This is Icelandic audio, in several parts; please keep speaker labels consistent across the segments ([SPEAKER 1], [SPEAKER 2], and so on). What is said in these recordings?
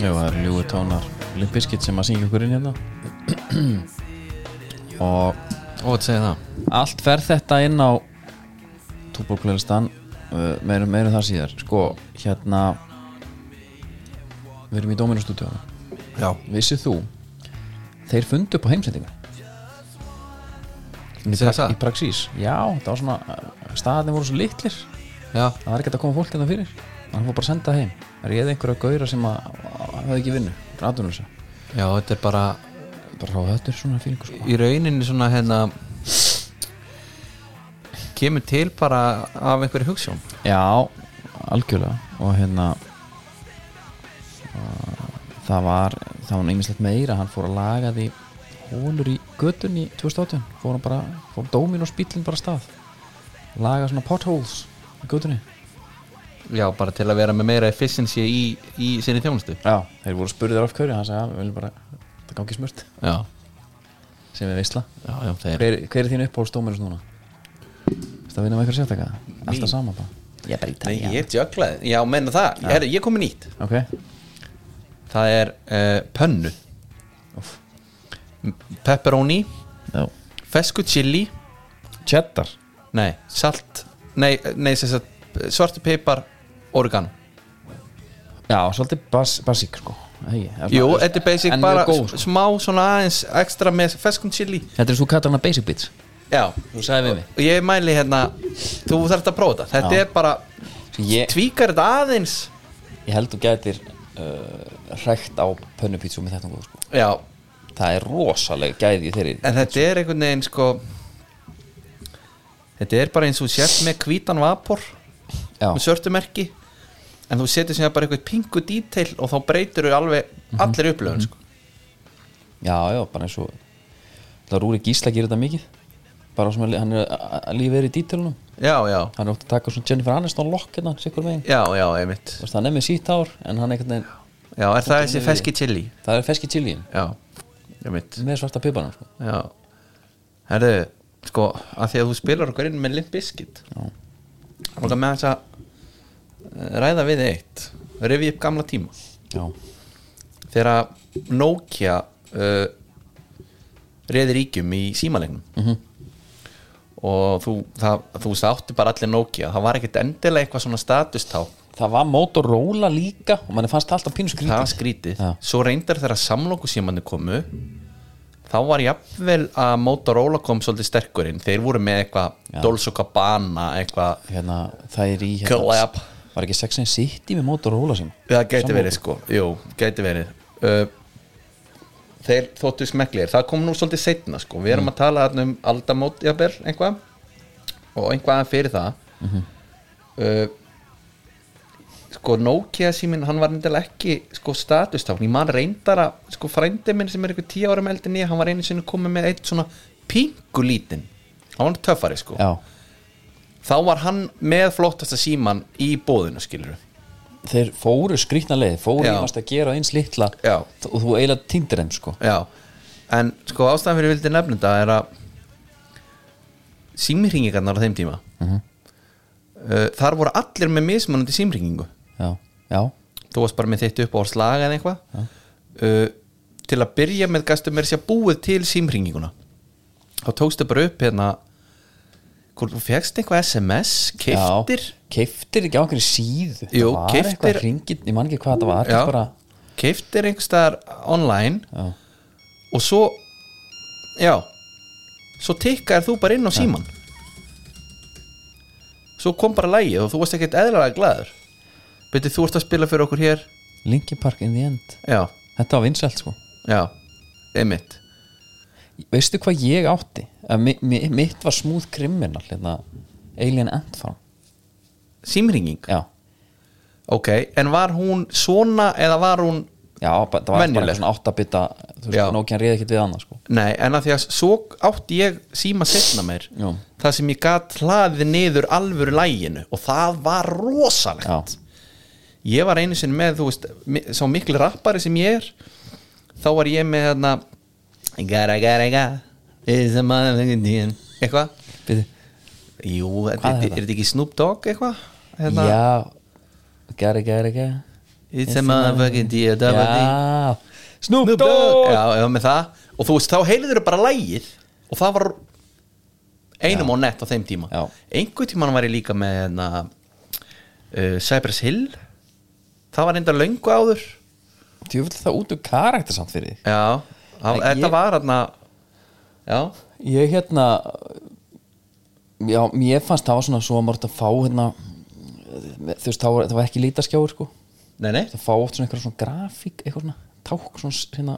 [SPEAKER 1] Já, það eru ljúi tónar Limpiskit sem að syngja okkur inn hérna Og
[SPEAKER 2] Ó, þetta segir það
[SPEAKER 1] allt fer þetta inn á Túborgleilistan uh, meirum, meirum það síðar Sko, hérna Við erum í Dóminustúdíónu
[SPEAKER 2] Já
[SPEAKER 1] Vissið þú Þeir fundu upp á heimsendingu Í,
[SPEAKER 2] Segðu það?
[SPEAKER 1] í praxís Já, það var svona Staðarnir voru svo litlir
[SPEAKER 2] Já
[SPEAKER 1] Það var ekkert að koma fólk hérna fyrir Hann fór bara að senda það heim Réði einhverja gauðra sem að hafði ekki vinnu Ratunlösa
[SPEAKER 2] Já, þetta er bara
[SPEAKER 1] Bara ráða þetta er svona fílingu sko
[SPEAKER 2] í rauninni svona hérna kemur til bara af einhverju hugssjón
[SPEAKER 1] Já, algjörlega og hérna uh, það var það var einmislegt meira, hann fór að laga því hólur í götunni 2018, fór hann bara, fór dómin og spýtlinn bara af stað, laga svona potholes í götunni
[SPEAKER 2] já, bara til að vera með meira efficiency í, í sinni þjónustu
[SPEAKER 1] Já, þeir voru spurðir af hverju, hann sagði að við viljum bara, það gangi smurt
[SPEAKER 2] já,
[SPEAKER 1] sem við veistla
[SPEAKER 2] já, já þeir,
[SPEAKER 1] Hver, hver er þín uppáhalds dóminus núna? Þetta vinna með eitthvað sértaka? Alltaf sama bara Ég er bara í
[SPEAKER 2] nei, ég jöklaði, já, menna það já. Her, ég komi nýtt,
[SPEAKER 1] Ok,
[SPEAKER 2] það er uh, pönnu
[SPEAKER 1] Úff.
[SPEAKER 2] M- pepperoni
[SPEAKER 1] já
[SPEAKER 2] fesku chili,
[SPEAKER 1] Cheddar
[SPEAKER 2] nei, salt nei, nei, sem sagt, svartu peipar oregano
[SPEAKER 1] Já, svolítið bas, basík sko Hei,
[SPEAKER 2] Jú, þetta er basic
[SPEAKER 1] en
[SPEAKER 2] bara
[SPEAKER 1] mjög góð,
[SPEAKER 2] s-
[SPEAKER 1] sko.
[SPEAKER 2] smá svona aðeins ekstra með feskun chili
[SPEAKER 1] Þetta er svo kallar hana basic bits
[SPEAKER 2] Já,
[SPEAKER 1] Þú sagði við mig.
[SPEAKER 2] Og Ég mæli hérna, þú þarft að prófa þetta Þetta
[SPEAKER 1] Já.
[SPEAKER 2] er bara,
[SPEAKER 1] ég,
[SPEAKER 2] tvíkar þetta aðeins
[SPEAKER 1] ég held þú gætir uh, hrækt á pönnupítsu með þetta góð, sko.
[SPEAKER 2] Já,
[SPEAKER 1] Það er rosalega gæði í þeirri
[SPEAKER 2] en þetta er einhvern veginn sko Þetta er bara eins og þú sért með hvítan vapor
[SPEAKER 1] Já,
[SPEAKER 2] með svörtu merki en þú setur sér bara eitthvað pingu detail og þá breytir þau alveg allir upplöfun sko.
[SPEAKER 1] já, já, bara eins og Það Rúri Gísla gerir þetta mikið Bara sem að, hann er að að lífið er í dítilunum
[SPEAKER 2] Já, já,
[SPEAKER 1] Hann er ótt að taka svona Jennifer Aniston lokk hérna, sikkur megin
[SPEAKER 2] já, já, einmitt
[SPEAKER 1] Þú veist, Hann er með sítt ár, en hann einhvern veginn
[SPEAKER 2] Já, er það þessi feski chili
[SPEAKER 1] Það er feski chiliin
[SPEAKER 2] Já, einmitt
[SPEAKER 1] með svarta pipanum sko.
[SPEAKER 2] Já, herðu sko, að því að þú spilar okkur inn með Limp Bizkit
[SPEAKER 1] Já.
[SPEAKER 2] og með þess að eh, ræða við eitt revi upp gamla tíma
[SPEAKER 1] Já,
[SPEAKER 2] þegar að Nokia uh, reði ríkjum í símalegnum -hmm. og þú, það, þú sátti bara allir Nokia það var ekkert endilega eitthvað svona statustá
[SPEAKER 1] það var Motorola líka og manni fannst það alltaf pínu skrítið
[SPEAKER 2] það var skrítið
[SPEAKER 1] Já.
[SPEAKER 2] svo reyndar þegar samlokkusímanu komu þá var jafnvel að Motorola kom svolítið sterkurinn þeir voru með eitthvað Dolce Gabbana eitthvað,
[SPEAKER 1] hérna, það er í hérna,
[SPEAKER 2] Collab.
[SPEAKER 1] var ekki Sex and City með Motorola síma
[SPEAKER 2] það gæti
[SPEAKER 1] Samloku.
[SPEAKER 2] verið sko jú, gæti verið uh, þeir þóttu smeklir það kom nú svolítið setna sko við erum að tala þarna um aldamót jafnvel einhvað og einhvað fyrir það uh, sko Nokia síminn hann var nefnilega ekki sko statustákn, ég man reyndar að sko frændi minn sem er eitthvað tíu árum eldin ég hann var einu sinni komið með eitt svona pingulítinn, hann var töffari sko
[SPEAKER 1] já,
[SPEAKER 2] þá var hann með flottasta síman í bóðinu skilur
[SPEAKER 1] þeir fóru skrýtna leið fóru
[SPEAKER 2] Já.
[SPEAKER 1] í mast að gera eins litla
[SPEAKER 2] Já.
[SPEAKER 1] og þú eiginlega tindir þeim sko
[SPEAKER 2] Já, en sko ástæðan fyrir ég vildi nefna þetta er að símringingarnar á þeim tíma uh, þar voru allir með mismunandi símringingu
[SPEAKER 1] já, já,
[SPEAKER 2] þú varst bara með þitt upp á slag eða eitthvað uh, til að byrja með gastu mér sér búið til símringinguna þá tókstu bara upp hérna hvort þú fegst eitthvað SMS keiftir,
[SPEAKER 1] já. keiftir ekki á einhverju síðu
[SPEAKER 2] Jú,
[SPEAKER 1] það var
[SPEAKER 2] keyptir-
[SPEAKER 1] eitthvað hringið, ég man ekki hvað það var
[SPEAKER 2] Já.
[SPEAKER 1] bara,
[SPEAKER 2] keiftir einhverstaðar online
[SPEAKER 1] já,
[SPEAKER 2] og svo já svo tikkaðir þú bara inn á síman svo kom bara lægið og þú varst ekkert eðlalega glæður betur þú ert að spila fyrir okkur hér
[SPEAKER 1] Linkin Park in the end
[SPEAKER 2] já,
[SPEAKER 1] þetta var vinsælt sko
[SPEAKER 2] já, einmitt
[SPEAKER 1] veistu hvað ég átti Að mi- mi- mitt var smúð kriminal hérna, Alien Antfarm
[SPEAKER 2] símringing,
[SPEAKER 1] já,
[SPEAKER 2] ok, en var hún svona eða var hún
[SPEAKER 1] já ba- það var
[SPEAKER 2] Venjuleg.
[SPEAKER 1] bara eitthvað svona 8 bita þú
[SPEAKER 2] Já.
[SPEAKER 1] veist, Nokian reyði ekkert við annað sko
[SPEAKER 2] nei, en að því að svo átti ég síma setna mér
[SPEAKER 1] Já.
[SPEAKER 2] það sem ég gat hlaðið niður alvöru læginu og það var rosalegt
[SPEAKER 1] já,
[SPEAKER 2] ég var einu sinni með, þú veist mi- sá miklu rappari sem ég er þá var ég með hérna gara gara gara is a motherfucking deal. eitthvað
[SPEAKER 1] byrði
[SPEAKER 2] jú, er,
[SPEAKER 1] Hvað er
[SPEAKER 2] er,
[SPEAKER 1] þetta?
[SPEAKER 2] er þetta ekki Snoop Dogg eitthvað
[SPEAKER 1] Já, gæri, gæri, gæri
[SPEAKER 2] Hérna- It's a motherfucking deal Já,
[SPEAKER 1] Já, Snoop Dogg
[SPEAKER 2] já, já, með það Og þú veist, þá heyrðu þeir bara lægið Og það var einum á nett á þeim tíma
[SPEAKER 1] Já.
[SPEAKER 2] Einhver tíman var ég líka með na, uh, Cypress Hill Það var enda löngu áður
[SPEAKER 1] Þú vill það út úr karakter samt fyrir þig
[SPEAKER 2] Já, það,
[SPEAKER 1] Ég-
[SPEAKER 2] þetta var hérna Já,
[SPEAKER 1] Ég hérna Já, mér fannst það var svona svo margt að fá hérna þú veist, þá var- það var ekki lítaskjáur sko
[SPEAKER 2] nei, nei
[SPEAKER 1] það fá oft svona eitthvað svona grafík eitthvað svona ták, svona s- hérna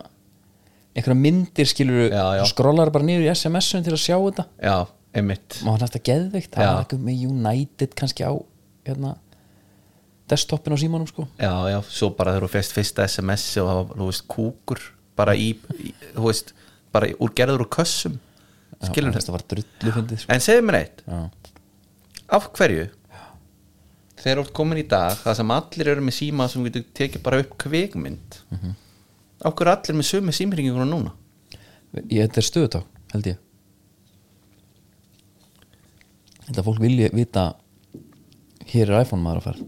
[SPEAKER 1] eitthvað myndir skilur
[SPEAKER 2] Já, já.
[SPEAKER 1] skrólar bara niður í SMS-un til að sjá þetta
[SPEAKER 2] Já, einmitt
[SPEAKER 1] maður fannst þetta geðveikt, það
[SPEAKER 2] Já.
[SPEAKER 1] var eitthvað með United kannski á hérna desktopin á símanum sko
[SPEAKER 2] Já, já, svo bara þegar þú fyrst fyrsta SMS og það var, þú veist, kúkur bara í, í þú veist, bara í- úr gerður úr kössum skilur þetta
[SPEAKER 1] þetta var drullu fyndið sko.
[SPEAKER 2] En segðu mér eitt,
[SPEAKER 1] Já.
[SPEAKER 2] af hverju þegar þú ert komin í dag það sem allir eru með síma sem getur tekið bara upp kvikmynd af hverju eru allir með sömu símringinguna núna
[SPEAKER 1] ég, þetta er stöðuták, held ég þetta fólk vilja vita hér er iPhone maður að fara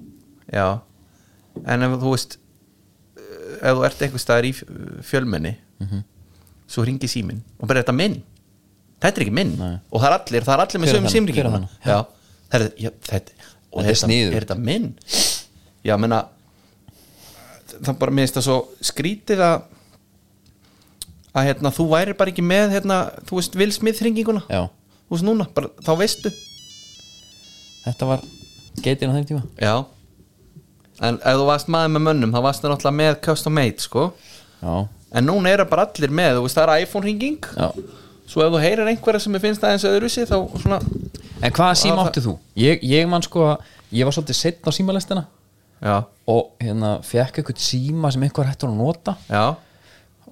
[SPEAKER 2] Já, en ef þú veist eh, ef þú ert eitthvað staðar í f- fjölmenni
[SPEAKER 1] Mhm.
[SPEAKER 2] svo ringi síminn og bara þetta er minn þetta er ekki minn
[SPEAKER 1] Nei.
[SPEAKER 2] og það er allir, það er
[SPEAKER 1] Hver
[SPEAKER 2] allir með
[SPEAKER 1] er
[SPEAKER 2] sömu
[SPEAKER 1] hann? Hver er
[SPEAKER 2] símringinguna
[SPEAKER 1] hann?
[SPEAKER 2] Já, það er, já, þetta og
[SPEAKER 1] Þetta er sniðugt.
[SPEAKER 2] er þetta minn Já, menna það bara minnst það svo skrítið að að hérna, þú væri bara ekki með hérna, þú veist, Will Smith ringinguna
[SPEAKER 1] Já.
[SPEAKER 2] þú veist núna, bara, þá veistu
[SPEAKER 1] þetta var geitin á þeim tíma
[SPEAKER 2] Já En ef þú varst maður með mönnum þá varst það náttúrulega með custom made sko
[SPEAKER 1] já,
[SPEAKER 2] En núna eru bara allir með, þú veist það er iPhone ringing
[SPEAKER 1] já
[SPEAKER 2] Svo ef þú heyrir einhverja sem er finnst aðeins öðru sér þá svona
[SPEAKER 1] En hvaða síma
[SPEAKER 2] það-
[SPEAKER 1] áttu þú? Ég, ég man sko að ég var svolítið setn á símalestina
[SPEAKER 2] Já,
[SPEAKER 1] og hérna fekk eitthvað síma sem einhver hættur að nota
[SPEAKER 2] já,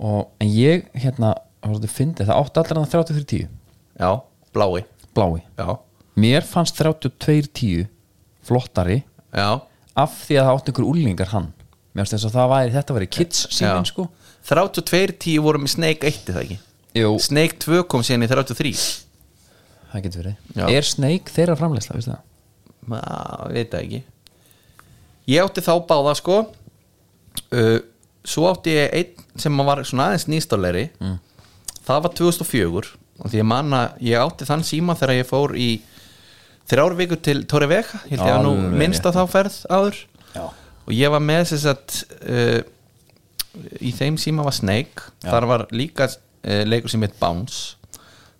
[SPEAKER 1] og, en ég hérna það var svolítið fyndið, það átti allir hann 3310
[SPEAKER 2] já, blái
[SPEAKER 1] blái
[SPEAKER 2] Já,
[SPEAKER 1] Mér fannst 3210 flottari
[SPEAKER 2] já,
[SPEAKER 1] af því að það átti einhver úlingar hann Mér finnst þess að það væri, þetta væri kids símin
[SPEAKER 2] já.
[SPEAKER 1] sko
[SPEAKER 2] 32.10 voru með Snake 1 er það ekki
[SPEAKER 1] Jú,
[SPEAKER 2] Snake 2 kom síðan í 33
[SPEAKER 1] það getur verið
[SPEAKER 2] Já.
[SPEAKER 1] Er Snake þeirra framleysla, veistu það?
[SPEAKER 2] Má, veit það ekki Ég átti þá báða sko uh, Svo átti ég einn sem var svona aðeins nýstáleri mm. Það var 2004 og Því ég man að ég átti þann síma þegar ég fór í þrjár vikur til Torre Vega Ég held ég að nú
[SPEAKER 1] Alveg
[SPEAKER 2] minnst að þá ferð áður
[SPEAKER 1] Já.
[SPEAKER 2] Og ég var með þess að uh, Í þeim síma var Snake Þar var líka uh, leikur sem heit Bounce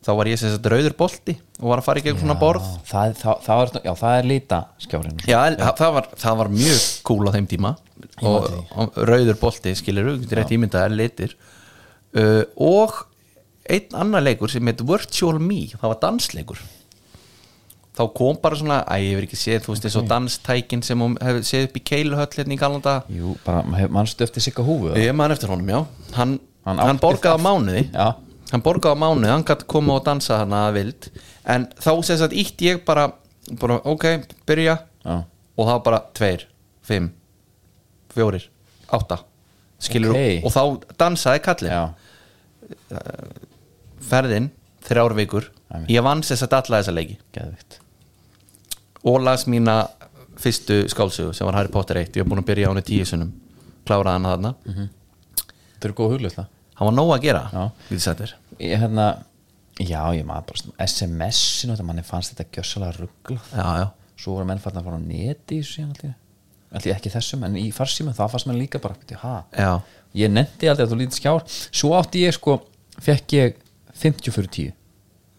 [SPEAKER 2] Þá var ég sem sagt rauður bolti og var að fara í gegn svona borð
[SPEAKER 1] það, það, það, var, já, það er líta skjárin
[SPEAKER 2] Já, en það var, það var mjög cool á þeim tíma og, og rauður bolti skilur auðvitað rétt ímyndað er litir uh, og einn annar leikur sem heit Virtual Me það var dansleikur þá kom bara svona, æ, ég hefur ekki séð þú veist eins og danstækin sem hún hefur séð upp í keiluhöll hérna í galanda
[SPEAKER 1] Jú, bara, hef- manstu eftir sigga húfu
[SPEAKER 2] ég maður eftir honum, já hann,
[SPEAKER 1] Hann
[SPEAKER 2] hann,
[SPEAKER 1] átti
[SPEAKER 2] borgaði á mánuði
[SPEAKER 1] Já,
[SPEAKER 2] hann borgaði á mánuð, hann gæti koma og dansa hann að vild, en þá sem sagt ítt ég bara, bara ok, byrja
[SPEAKER 1] Já.
[SPEAKER 2] og það var bara tveir, fimm fjórir, átta skilur,
[SPEAKER 1] Ok.
[SPEAKER 2] og þá dansaði kallið
[SPEAKER 1] já,
[SPEAKER 2] ferðin, þrjár vikur
[SPEAKER 1] Æmi.
[SPEAKER 2] ég vann sem sagt alla þessa leiki
[SPEAKER 1] geðvikt
[SPEAKER 2] og las mína fyrstu skálsögu sem var Harry Potter 1, ég var búin að byrja á henni tíu sunnum kláraði hann þarna,
[SPEAKER 1] Þetta eru góð huglega
[SPEAKER 2] hann var nóg að gera
[SPEAKER 1] Mhm. Já.
[SPEAKER 2] við þess að þetta er
[SPEAKER 1] Ég hérna, já ég maður bara svona SMS-inu, þetta manni fannst þetta gjössalega ruggla
[SPEAKER 2] já, já,
[SPEAKER 1] Svo voru menn farnar að fara á neti í þessu síðan allir Allir ekki í þessum, en í farsíma það fannst menn líka bara "Bíddu, ha.
[SPEAKER 2] Já.
[SPEAKER 1] Ég nefndi aldrei að þú lítið skjár Svo átti ég sko, fekk ég 50 fyrir 10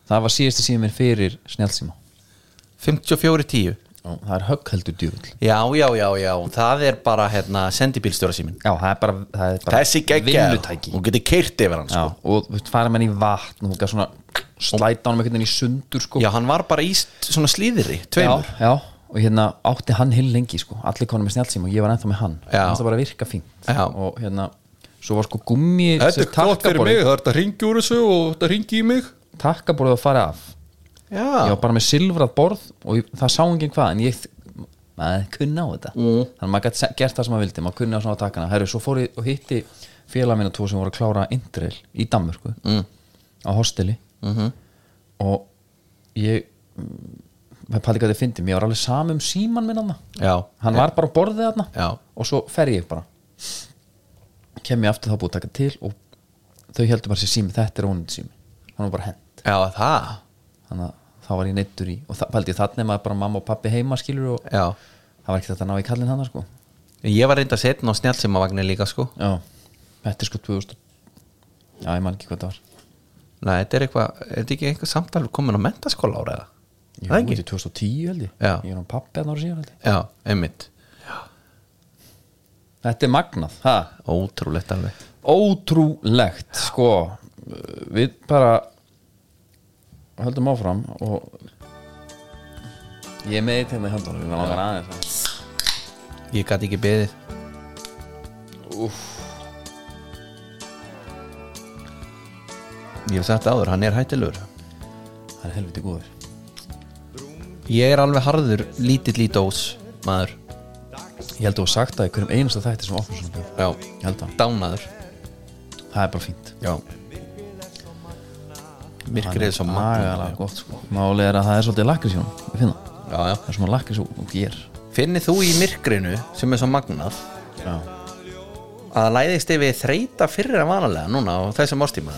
[SPEAKER 1] Það var síðasti síðan minn fyrir snjálsíma
[SPEAKER 2] 54 tíu
[SPEAKER 1] Það er högg heldur djúvill
[SPEAKER 2] Já, já, já, já, það er bara hérna, sendibílstjóra síminn
[SPEAKER 1] Já, það er bara, það er bara
[SPEAKER 2] Þessi geggja,
[SPEAKER 1] vinnutæki.
[SPEAKER 2] hún getur keirt yfir hann
[SPEAKER 1] Já,
[SPEAKER 2] sko.
[SPEAKER 1] og þú veist, fara með hann í vatn og þú gæð svona slæta hann með einhvern veginn í sundur sko.
[SPEAKER 2] já, hann var bara í st- svona slíðri, tveimur
[SPEAKER 1] já, já, og hérna átti hann heil lengi sko. allir konum með snjálsým og ég var ennþá með hann
[SPEAKER 2] Já.
[SPEAKER 1] það bara að virka fínt
[SPEAKER 2] Já.
[SPEAKER 1] og hérna, svo var sko gummi
[SPEAKER 2] það er þetta ringi úr þessu og þetta ringi í mig
[SPEAKER 1] takkaborðið að fara af ég
[SPEAKER 2] Já,
[SPEAKER 1] var bara með silfrað borð og ég, það sá enginn hvað en ég maður kunna á þetta mm. þannig að maður gæti gert það sem maður vildi maður kunna á svona takkana herru, svo fór ég og hitti félag minna tvo sem voru að klára Indrel í Danmörku mm. á hosteli
[SPEAKER 2] Mhm.
[SPEAKER 1] -hmm. og ég mm, pæli hvað þið fyndi, mér var alveg samum síman um minn hann
[SPEAKER 2] já,
[SPEAKER 1] hann var bara á borðið hann
[SPEAKER 2] Já.
[SPEAKER 1] og svo fer ég bara kem ég aftur þá búið að taka til og þau heldur bara sér sími, þetta er ónund sími hann var bara hend
[SPEAKER 2] Já, það
[SPEAKER 1] þannig að þá var ég neittur í og það pældi ég þannig maður bara mamma og pappi heima skilur og
[SPEAKER 2] Já
[SPEAKER 1] það var ekki þetta að ná í kallinn hann sko.
[SPEAKER 2] Ég var reynda setn á snjálsimavagnin líka sko
[SPEAKER 1] já, þetta er sko 2000 já, ég man ekki hvað það var
[SPEAKER 2] Nei, þetta er eitthvað Er þetta ekki einhver samtal komin á mentaskóla ára eða?
[SPEAKER 1] Jú,
[SPEAKER 2] Það ekki?
[SPEAKER 1] þetta er 2010 held ég
[SPEAKER 2] Já.
[SPEAKER 1] ég er hann pappi hann ára síðan held ég
[SPEAKER 2] Já, einmitt
[SPEAKER 1] þetta er magnað, ha?
[SPEAKER 2] Ótrúlegt alveg
[SPEAKER 1] ótrúlegt sko, við bara höldum áfram og ég er með eitt hérna í höndunum ég langar aðeins að-
[SPEAKER 2] Ég gat ekki beðið Ég hef sagt áður, hann er hættilegur
[SPEAKER 1] það er helviti góður
[SPEAKER 2] Ég er alveg harður, lítill í dós Maður
[SPEAKER 1] ég held að þú hafa sagt það í hverjum einasta þætti sem opnum svona bjór
[SPEAKER 2] Já
[SPEAKER 1] ég held að,
[SPEAKER 2] Dánaður
[SPEAKER 1] það er bara fínt
[SPEAKER 2] Já Myrkrið er svo magna
[SPEAKER 1] magalega gott sko málið er að það er svolítið lakrís í hún ég finn það,
[SPEAKER 2] Já, já
[SPEAKER 1] það er svona lakrís og og ger
[SPEAKER 2] Finnir þú í myrkrinu sem er svo magnað
[SPEAKER 1] já,
[SPEAKER 2] að það læðist yfir þreita fyrir að vanalega núna á þessum árstíma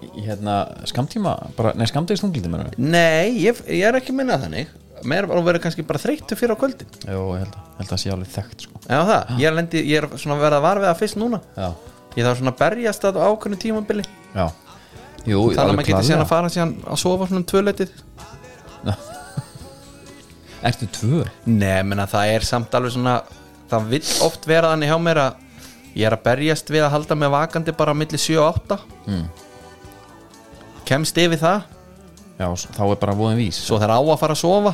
[SPEAKER 1] Í- hérna skamtíma, bara, nei skamtíma stunglítið mér
[SPEAKER 2] Nei, ég, ég er ekki minnað þannig Mér var að vera kannski bara þreyttu fyrir á kvöldin
[SPEAKER 1] jú, ég held að, ég held að það sé alveg þekkt sko
[SPEAKER 2] Já það, ég er, lendi, ég er svona að vera að varfið það fyrst núna
[SPEAKER 1] já,
[SPEAKER 2] Ég þarf svona að berjast að á ákveðnu tímabili
[SPEAKER 1] já jú,
[SPEAKER 2] Þannig að
[SPEAKER 1] alveg
[SPEAKER 2] maður getur
[SPEAKER 1] klárlega.
[SPEAKER 2] síðan að fara síðan að sofa svona um tvöleitið
[SPEAKER 1] Ertu tvö?
[SPEAKER 2] Nei, menna það er samt alveg svona Það vill oft vera þannig hjá mér að Ég er að berjast við að halda mig vakandi bara á milli 7 og 8
[SPEAKER 1] Mm.
[SPEAKER 2] Kemst yfir það
[SPEAKER 1] Já, s- þá er bara voðin vís
[SPEAKER 2] Svo það er á að fara að sofa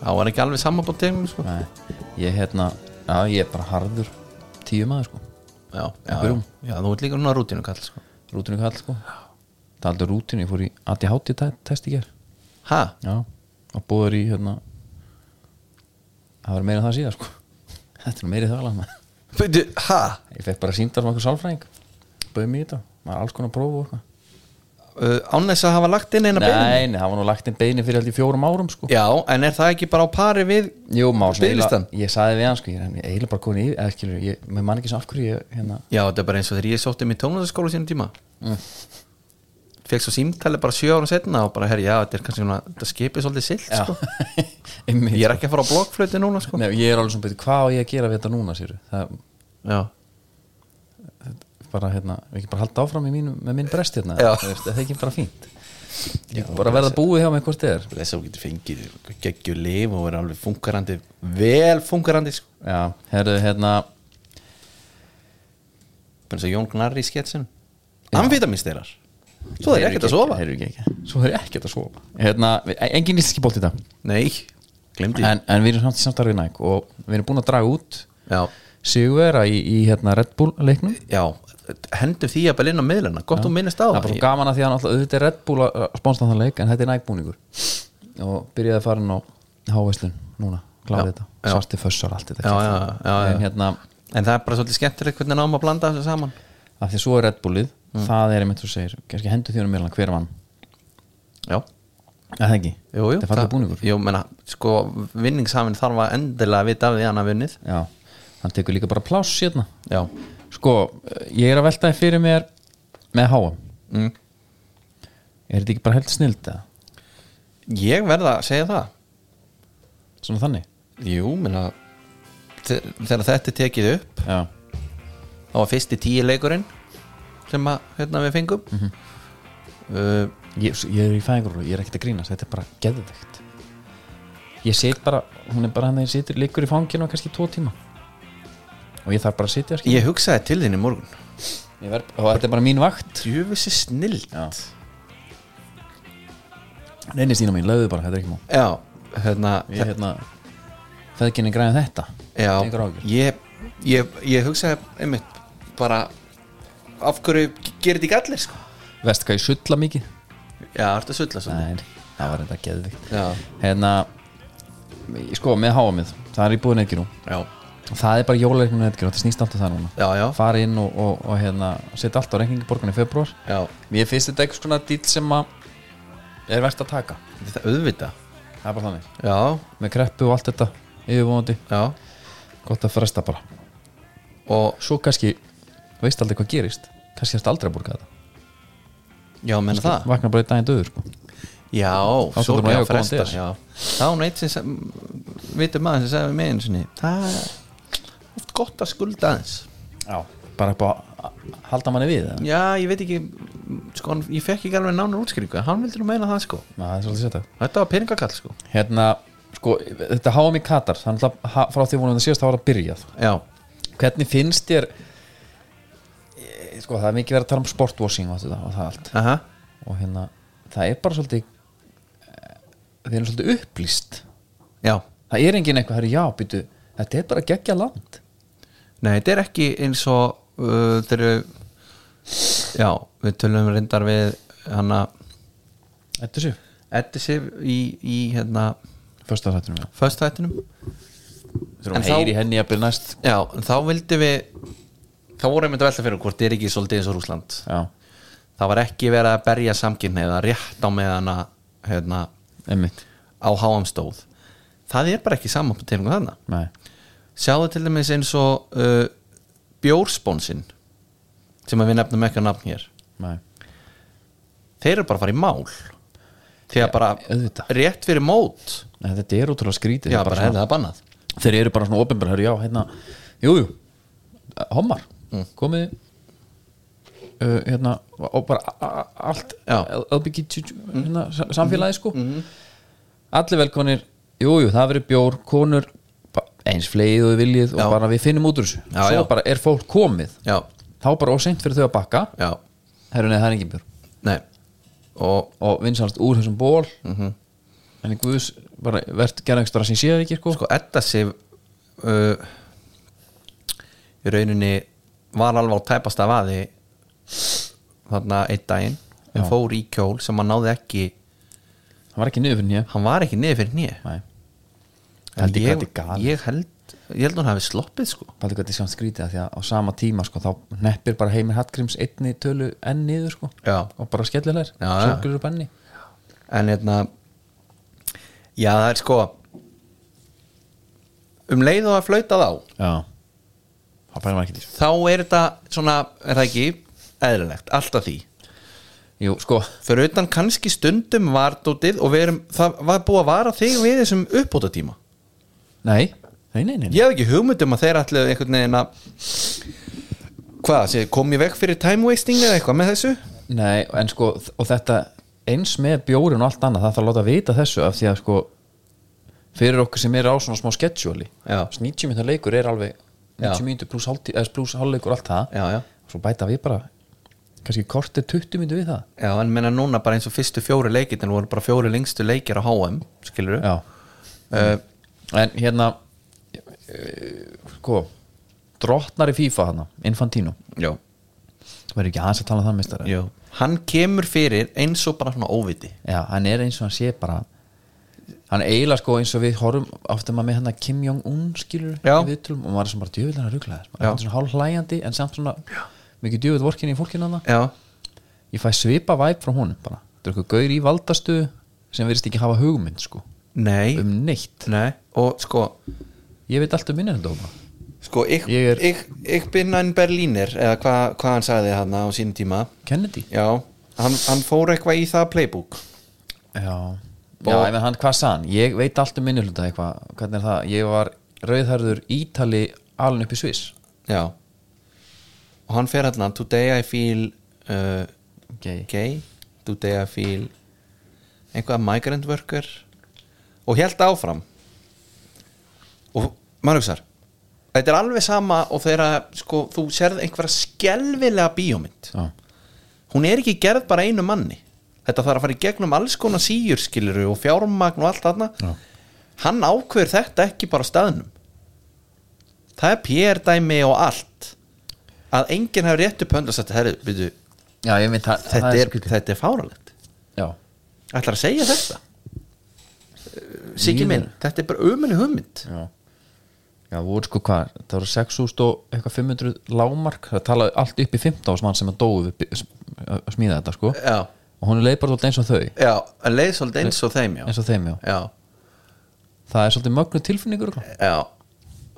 [SPEAKER 2] Þá er ekki alveg samanbútt tegum sko.
[SPEAKER 1] Nei, ég hérna Já, ég er bara harður tíu maður sko
[SPEAKER 2] já, já, já,
[SPEAKER 1] Einhverjum.
[SPEAKER 2] já, þú ert líka svona rútinu kall sko.
[SPEAKER 1] Rútinu kall sko Það er aldrei rútinu, ég fór í ADHD te- test í ger
[SPEAKER 2] Ha?
[SPEAKER 1] Já, og búður í hérna Það var meira en það síðan sko Þetta er meira en það alveg maður.
[SPEAKER 2] Byrju, ha?
[SPEAKER 1] Ég fekk bara síndar sem okkur sálfræðing Böðum í þetta, maður alls konar prófu og eitthvað
[SPEAKER 2] Uh, án þess að hafa lagt inn eina beiðni?
[SPEAKER 1] Nei, nei, það var nú lagt inn beini fyrir aldrei fjórum árum sko
[SPEAKER 2] Já, en er það ekki bara á pari við
[SPEAKER 1] Jú, má svona
[SPEAKER 2] Biðlistan?
[SPEAKER 1] eiginlega- Ég saði við hann sko, ég er eiginlega bara komin í eða skilur, ég, mér man ekki sem af hverju ég hérna
[SPEAKER 2] Já, þetta er bara eins og þegar ég sótti mig í tónlistaskóla sínum tíma mm. Fekk svo símtali bara sjö ára setna og bara, herri, já, þetta er kannski svona þetta skipið svolítið silt,
[SPEAKER 1] Já.
[SPEAKER 2] sko
[SPEAKER 1] Einmitt.
[SPEAKER 2] Ég er ekki að fara á blokkflöti núna, sko
[SPEAKER 1] Nei, ég er alveg svona betur, hvað á ég að gera við þetta núna sér? Það
[SPEAKER 2] Já,
[SPEAKER 1] er bara, hérna, við ekki bara halda áfram í mínu, með minn brest hérna,
[SPEAKER 2] Já.
[SPEAKER 1] þú veist, það er ekki bara fínt ég er bara að verða búið hjá mig hvort þið er
[SPEAKER 2] þess að þú getur fengið geggjur lif og vera alveg funkarandi vel funkarandi, sko
[SPEAKER 1] Já, herðu, hérna,
[SPEAKER 2] Bens að Jón Gnarri í sketsin Amfítamínsteirar Svo það er ekkert að sofa
[SPEAKER 1] Heyrðu ekki, ekki. Svo er ekkert að sofa Hérna, við- engin íslenski bólt í dag
[SPEAKER 2] Nei, glemdi
[SPEAKER 1] en, en við erum samt í samtarfið næg og við erum búin að draga út
[SPEAKER 2] Já,
[SPEAKER 1] Sigurvera í, í hérna Red Bull leiknum
[SPEAKER 2] já, hendum því að bara inn á miðluna Gott þú minnist á
[SPEAKER 1] það er bara svo gaman að því að náttúrulega auðvitað er Red Bull að að sponsa þann leik en þetta er nægbúningur og byrjaði að fara inn á hávæslun núna, kláði
[SPEAKER 2] Já,
[SPEAKER 1] þetta,
[SPEAKER 2] já.
[SPEAKER 1] svarti fössar allt þetta
[SPEAKER 2] Já, já, já, já.
[SPEAKER 1] en hérna,
[SPEAKER 2] En það er bara svolítið skemmtilegt hvernig náum að blanda þessu saman
[SPEAKER 1] af því svo er Red Bullið
[SPEAKER 2] Mm.
[SPEAKER 1] það er einmitt þú segir, kannski hendur þjónum meðlan hver vann,
[SPEAKER 2] Já,
[SPEAKER 1] er það ekki?
[SPEAKER 2] jú, jú
[SPEAKER 1] þetta er fallið búningur
[SPEAKER 2] Jú, menna, sko, vinningshafin þarf að endilega vita af því að hann að vunnið
[SPEAKER 1] já, hann tekur líka bara pláss hérna
[SPEAKER 2] Já,
[SPEAKER 1] sko, ég er að velta því fyrir mér með háa
[SPEAKER 2] mm.
[SPEAKER 1] er þetta ekki bara held snild eða?
[SPEAKER 2] ég verða að segja það
[SPEAKER 1] svona þannig
[SPEAKER 2] Jú, menna Þegar þetta er tekið upp
[SPEAKER 1] já,
[SPEAKER 2] þá var fyrsti tíu leikurinn sem að, hérna, við fengum uh,
[SPEAKER 1] ég, ég er í fæðingur ég er ekkert að grínast, þetta er bara geðveikt ég set bara hún er bara hann þegar ég situr, liggur í fanginu kannski tvo tíma og ég þarf bara að sitja sko. skilur.
[SPEAKER 2] Ég hugsaði til þín í morgun
[SPEAKER 1] ég verð, og þetta er bara mín vakt
[SPEAKER 2] Djöfissi snill
[SPEAKER 1] Já. reynir sína mín, lögðu bara, þetta er ekki mál
[SPEAKER 2] Já, hérna,
[SPEAKER 1] ég hérna, feðginni græði þetta
[SPEAKER 2] Já,
[SPEAKER 1] Engar áhyggjur.
[SPEAKER 2] ég, ég, ég hugsaði einmitt bara af hverju gerir þetta ekki allir sko
[SPEAKER 1] veist hvað ég sulla mikið
[SPEAKER 2] Já, ertu að sulla svona
[SPEAKER 1] Nei, það var þetta geðveikt
[SPEAKER 2] Já,
[SPEAKER 1] hérna, sko, með háa mið það er í búin eitthvað nú
[SPEAKER 2] já,
[SPEAKER 1] það er bara jólareiknum eitthvað, þetta snýst alltaf það núna
[SPEAKER 2] já, já,
[SPEAKER 1] fara inn og, og, og hérna, setja allt á reikningi borgarni í februar
[SPEAKER 2] já.
[SPEAKER 1] Mér finnst þetta eitthvað svona dýl sem að er verst að taka
[SPEAKER 2] Þetta auðvita
[SPEAKER 1] Það er bara þannig
[SPEAKER 2] Já,
[SPEAKER 1] Með kreppu og allt þetta yfirvóðandi
[SPEAKER 2] já
[SPEAKER 1] Gott að fresta bara
[SPEAKER 2] og
[SPEAKER 1] svo kannski veist aldrei hvað gerist kannski erst aldrei að borga þetta
[SPEAKER 2] já, menna það
[SPEAKER 1] vakna bara í daginn döður sko.
[SPEAKER 2] já,
[SPEAKER 1] Þá
[SPEAKER 2] svo
[SPEAKER 1] getur maður
[SPEAKER 2] já,
[SPEAKER 1] eiga góðan
[SPEAKER 2] fresta
[SPEAKER 1] DS.
[SPEAKER 2] já. þá hún eitt sem sem vitum maður sem sagði við mig einu sinni það er oft gott að skulda aðeins
[SPEAKER 1] bara upp á að halda manni við það
[SPEAKER 2] já, ég veit ekki sko, hann- ég fekk ekki alveg nánar útskýringu hann vildi nú meina það sko
[SPEAKER 1] það er svolítið setja
[SPEAKER 2] þetta var peningakall sko
[SPEAKER 1] hérna, sko, þetta háum í Katar þannig að frá því vonum þetta síðast það var að byrjað
[SPEAKER 2] já,
[SPEAKER 1] hvernig finnst þér eh, sko, það er mikið verið að tala um sportwashing og, þetta, og það allt
[SPEAKER 2] aha
[SPEAKER 1] og hérna, það er bara svolítið eh, við erum svolítið upplýst
[SPEAKER 2] já,
[SPEAKER 1] það er engin eitthvað, herri, já, býtu þetta er bara geggja land
[SPEAKER 2] nei, þetta er ekki eins og uh, þeir eru já, við tölum reyndar við hann að
[SPEAKER 1] Þetta séu,
[SPEAKER 2] Eddi Sif í, í hérna
[SPEAKER 1] fyrsta þættunum já.
[SPEAKER 2] föstættinum
[SPEAKER 1] Þurfum
[SPEAKER 2] En þá-
[SPEAKER 1] heyri henni að byrja næst
[SPEAKER 2] Já, en þá vildi við þá voru einmitt að velta fyrir okkur, hvort er ekki svolítið eins og Rúsland
[SPEAKER 1] Já,
[SPEAKER 2] það var ekki verið að berja samkynhneigða rétt á meðan að hérna,
[SPEAKER 1] einmitt
[SPEAKER 2] á háam stóð það er bara ekki samanbúttilningu þarna
[SPEAKER 1] Nei,
[SPEAKER 2] sjáðu til dæmis eins og uh, bjórsponsinn sem að við nefnum ekki að nafn hér
[SPEAKER 1] nei,
[SPEAKER 2] þeir eru bara að fara í mál því að bara
[SPEAKER 1] auðvitað.
[SPEAKER 2] rétt fyrir mót
[SPEAKER 1] Nei, þetta er ótrúlega skrítið Þetta
[SPEAKER 2] já,
[SPEAKER 1] er
[SPEAKER 2] bara
[SPEAKER 1] svona-
[SPEAKER 2] hefði það bannað
[SPEAKER 1] Þeir eru bara svona opinbara, herri, já, hérna Jú, jú, homar
[SPEAKER 2] Mm.
[SPEAKER 1] Komið uh, Hérna, og bara a- a- allt
[SPEAKER 2] Já. Mm-hmm.
[SPEAKER 1] LBG hérna, sa- samfélagi sko Allir velkonir, jú, jú, það verið bjór Konur, ba- eins fleið og þið viljið
[SPEAKER 2] Já.
[SPEAKER 1] og bara við finnum út úr þessu
[SPEAKER 2] Já,
[SPEAKER 1] Svo
[SPEAKER 2] já.
[SPEAKER 1] bara er fólk komið
[SPEAKER 2] já,
[SPEAKER 1] Þá bara óseint fyrir þau að bakka
[SPEAKER 2] já,
[SPEAKER 1] Herru, neða, það er engin bjór
[SPEAKER 2] nei og
[SPEAKER 1] og vinsalast úr þessum ból
[SPEAKER 2] Mm-hmm.
[SPEAKER 1] en í guðs bara verðt gerða ekstra sem séð ekki sko.
[SPEAKER 2] sko Edda Sif uh, í rauninni var alveg á tæpasta vaði þarna einn daginn en fór í kjól sem hann náði ekki
[SPEAKER 1] það var ekki niður fyrir nýja
[SPEAKER 2] hann var ekki niður fyrir nýja
[SPEAKER 1] Nei. Held ég hvað
[SPEAKER 2] ég,
[SPEAKER 1] þetta er galið.
[SPEAKER 2] ég held ég held hún hafi sloppið sko
[SPEAKER 1] Paldi hvað þetta er samt skrítið að því að á sama tíma sko, þá neppir bara heimir Hallgríms einni tölu enn niður sko
[SPEAKER 2] Já.
[SPEAKER 1] og bara skellir þær,
[SPEAKER 2] Já, já.
[SPEAKER 1] sjókur upp enni
[SPEAKER 2] en hérna já það er sko um leið og að flauta þá
[SPEAKER 1] Já, það færi maður ekki dýr
[SPEAKER 2] þá er þetta svona er það ekki eðlilegt alltaf því
[SPEAKER 1] Jú, sko,
[SPEAKER 2] fyrir utan kannski stundum vardótið og við erum, það var búið að vara þig við þessum uppbóta tíma
[SPEAKER 1] nei, nei, nei, nei, nei.
[SPEAKER 2] ég hef ekki hugmynd um að þeir ætlu einhvern veginn að hvað, sé, kom ég vekk fyrir time wasting eða eitthvað með þessu
[SPEAKER 1] Nei, en sko, þ- og þetta eins með bjórin og allt annað, það þarf að láta vita þessu af því að sko fyrir okkur sem er á svona smá schedule
[SPEAKER 2] Já.
[SPEAKER 1] 90 minna leikur er alveg 90
[SPEAKER 2] Já.
[SPEAKER 1] mínútur pluss hálftí- eða pluss hálfleikur allt það,
[SPEAKER 2] já, já,
[SPEAKER 1] svo bæta við bara kannski kortið 20 mínútur við það
[SPEAKER 2] já, en menna núna bara eins og fyrstu fjóri leikir en voru bara fjóri lengstu leikir á HM skilur
[SPEAKER 1] Já,
[SPEAKER 2] uh,
[SPEAKER 1] en hérna uh, sko drottnar í FIFA hana, Infantino
[SPEAKER 2] já,
[SPEAKER 1] það verður ekki aðeins að tala um það meistari
[SPEAKER 2] já hann kemur fyrir eins og bara svona óviti
[SPEAKER 1] Já, hann er eins og hann sé bara hann er eiginlega sko eins og við horfum ofta maður með hann að Kim Jong-un skilur
[SPEAKER 2] Já.
[SPEAKER 1] í viðtölum og maður er sem bara djöfull hann að ruggla þess maður
[SPEAKER 2] Já.
[SPEAKER 1] er svona hálf hlæjandi en samt svona mikið djöfull vorkinni í fólkinu hann
[SPEAKER 2] já,
[SPEAKER 1] ég fæ svipa væp frá honum bara þetta er eitthvað gaur í valdastu sem verðist ekki hafa hugmynd sko
[SPEAKER 2] nei,
[SPEAKER 1] um neitt
[SPEAKER 2] nei og sko
[SPEAKER 1] ég veit allt um minni þetta hópa
[SPEAKER 2] sko, ég,
[SPEAKER 1] Ég er-
[SPEAKER 2] ég, ég bin hann Berlínir eða hvað hva hann sagði hann á sínum tíma
[SPEAKER 1] Kennedy
[SPEAKER 2] Já, hann, hann fór eitthvað í það playbook
[SPEAKER 1] Já Já,
[SPEAKER 2] Og-
[SPEAKER 1] en hann hvað sað hann ég veit allt um minni hluta eitthvað hvernig er það ég var rauðherður ítali alin upp í Sviss
[SPEAKER 2] Já Og hann fer allan Today I feel uh,
[SPEAKER 1] okay.
[SPEAKER 2] gay Today I feel einhvað migrant worker og held áfram og maður hugsar þetta er alveg sama og þegar sko, þú serð einhverja skelvilega bíómynd
[SPEAKER 1] Já.
[SPEAKER 2] hún er ekki gerð bara einu manni þetta þarf að fara í gegnum alls konar síjur skiluru og fjármagn og allt þarna
[SPEAKER 1] Já.
[SPEAKER 2] hann ákveður þetta ekki bara á staðnum það er PR-dæmi og allt að enginn hefur rétt upp hönd og sagt herri, byrju,
[SPEAKER 1] Já, ég mynd það
[SPEAKER 2] þetta,
[SPEAKER 1] það
[SPEAKER 2] er,
[SPEAKER 1] skrítið.
[SPEAKER 2] þetta er fáralegt
[SPEAKER 1] Já
[SPEAKER 2] ætlar að segja þetta Siggi minn, þetta er bara umölu hugmynd
[SPEAKER 1] Já, já það voru sko hvað það voru 6.000 og eitthvað 500 lámark það talaði allt upp í 15 mann sem að dóu við bi- að smíða þetta sko
[SPEAKER 2] já,
[SPEAKER 1] og hún er leið bara svolítið eins og þau
[SPEAKER 2] já, en leið svolítið eins og þeim já,
[SPEAKER 1] eins og þeim já,
[SPEAKER 2] já,
[SPEAKER 1] það er svolítið mögnu tilfinningur örugglega.
[SPEAKER 2] já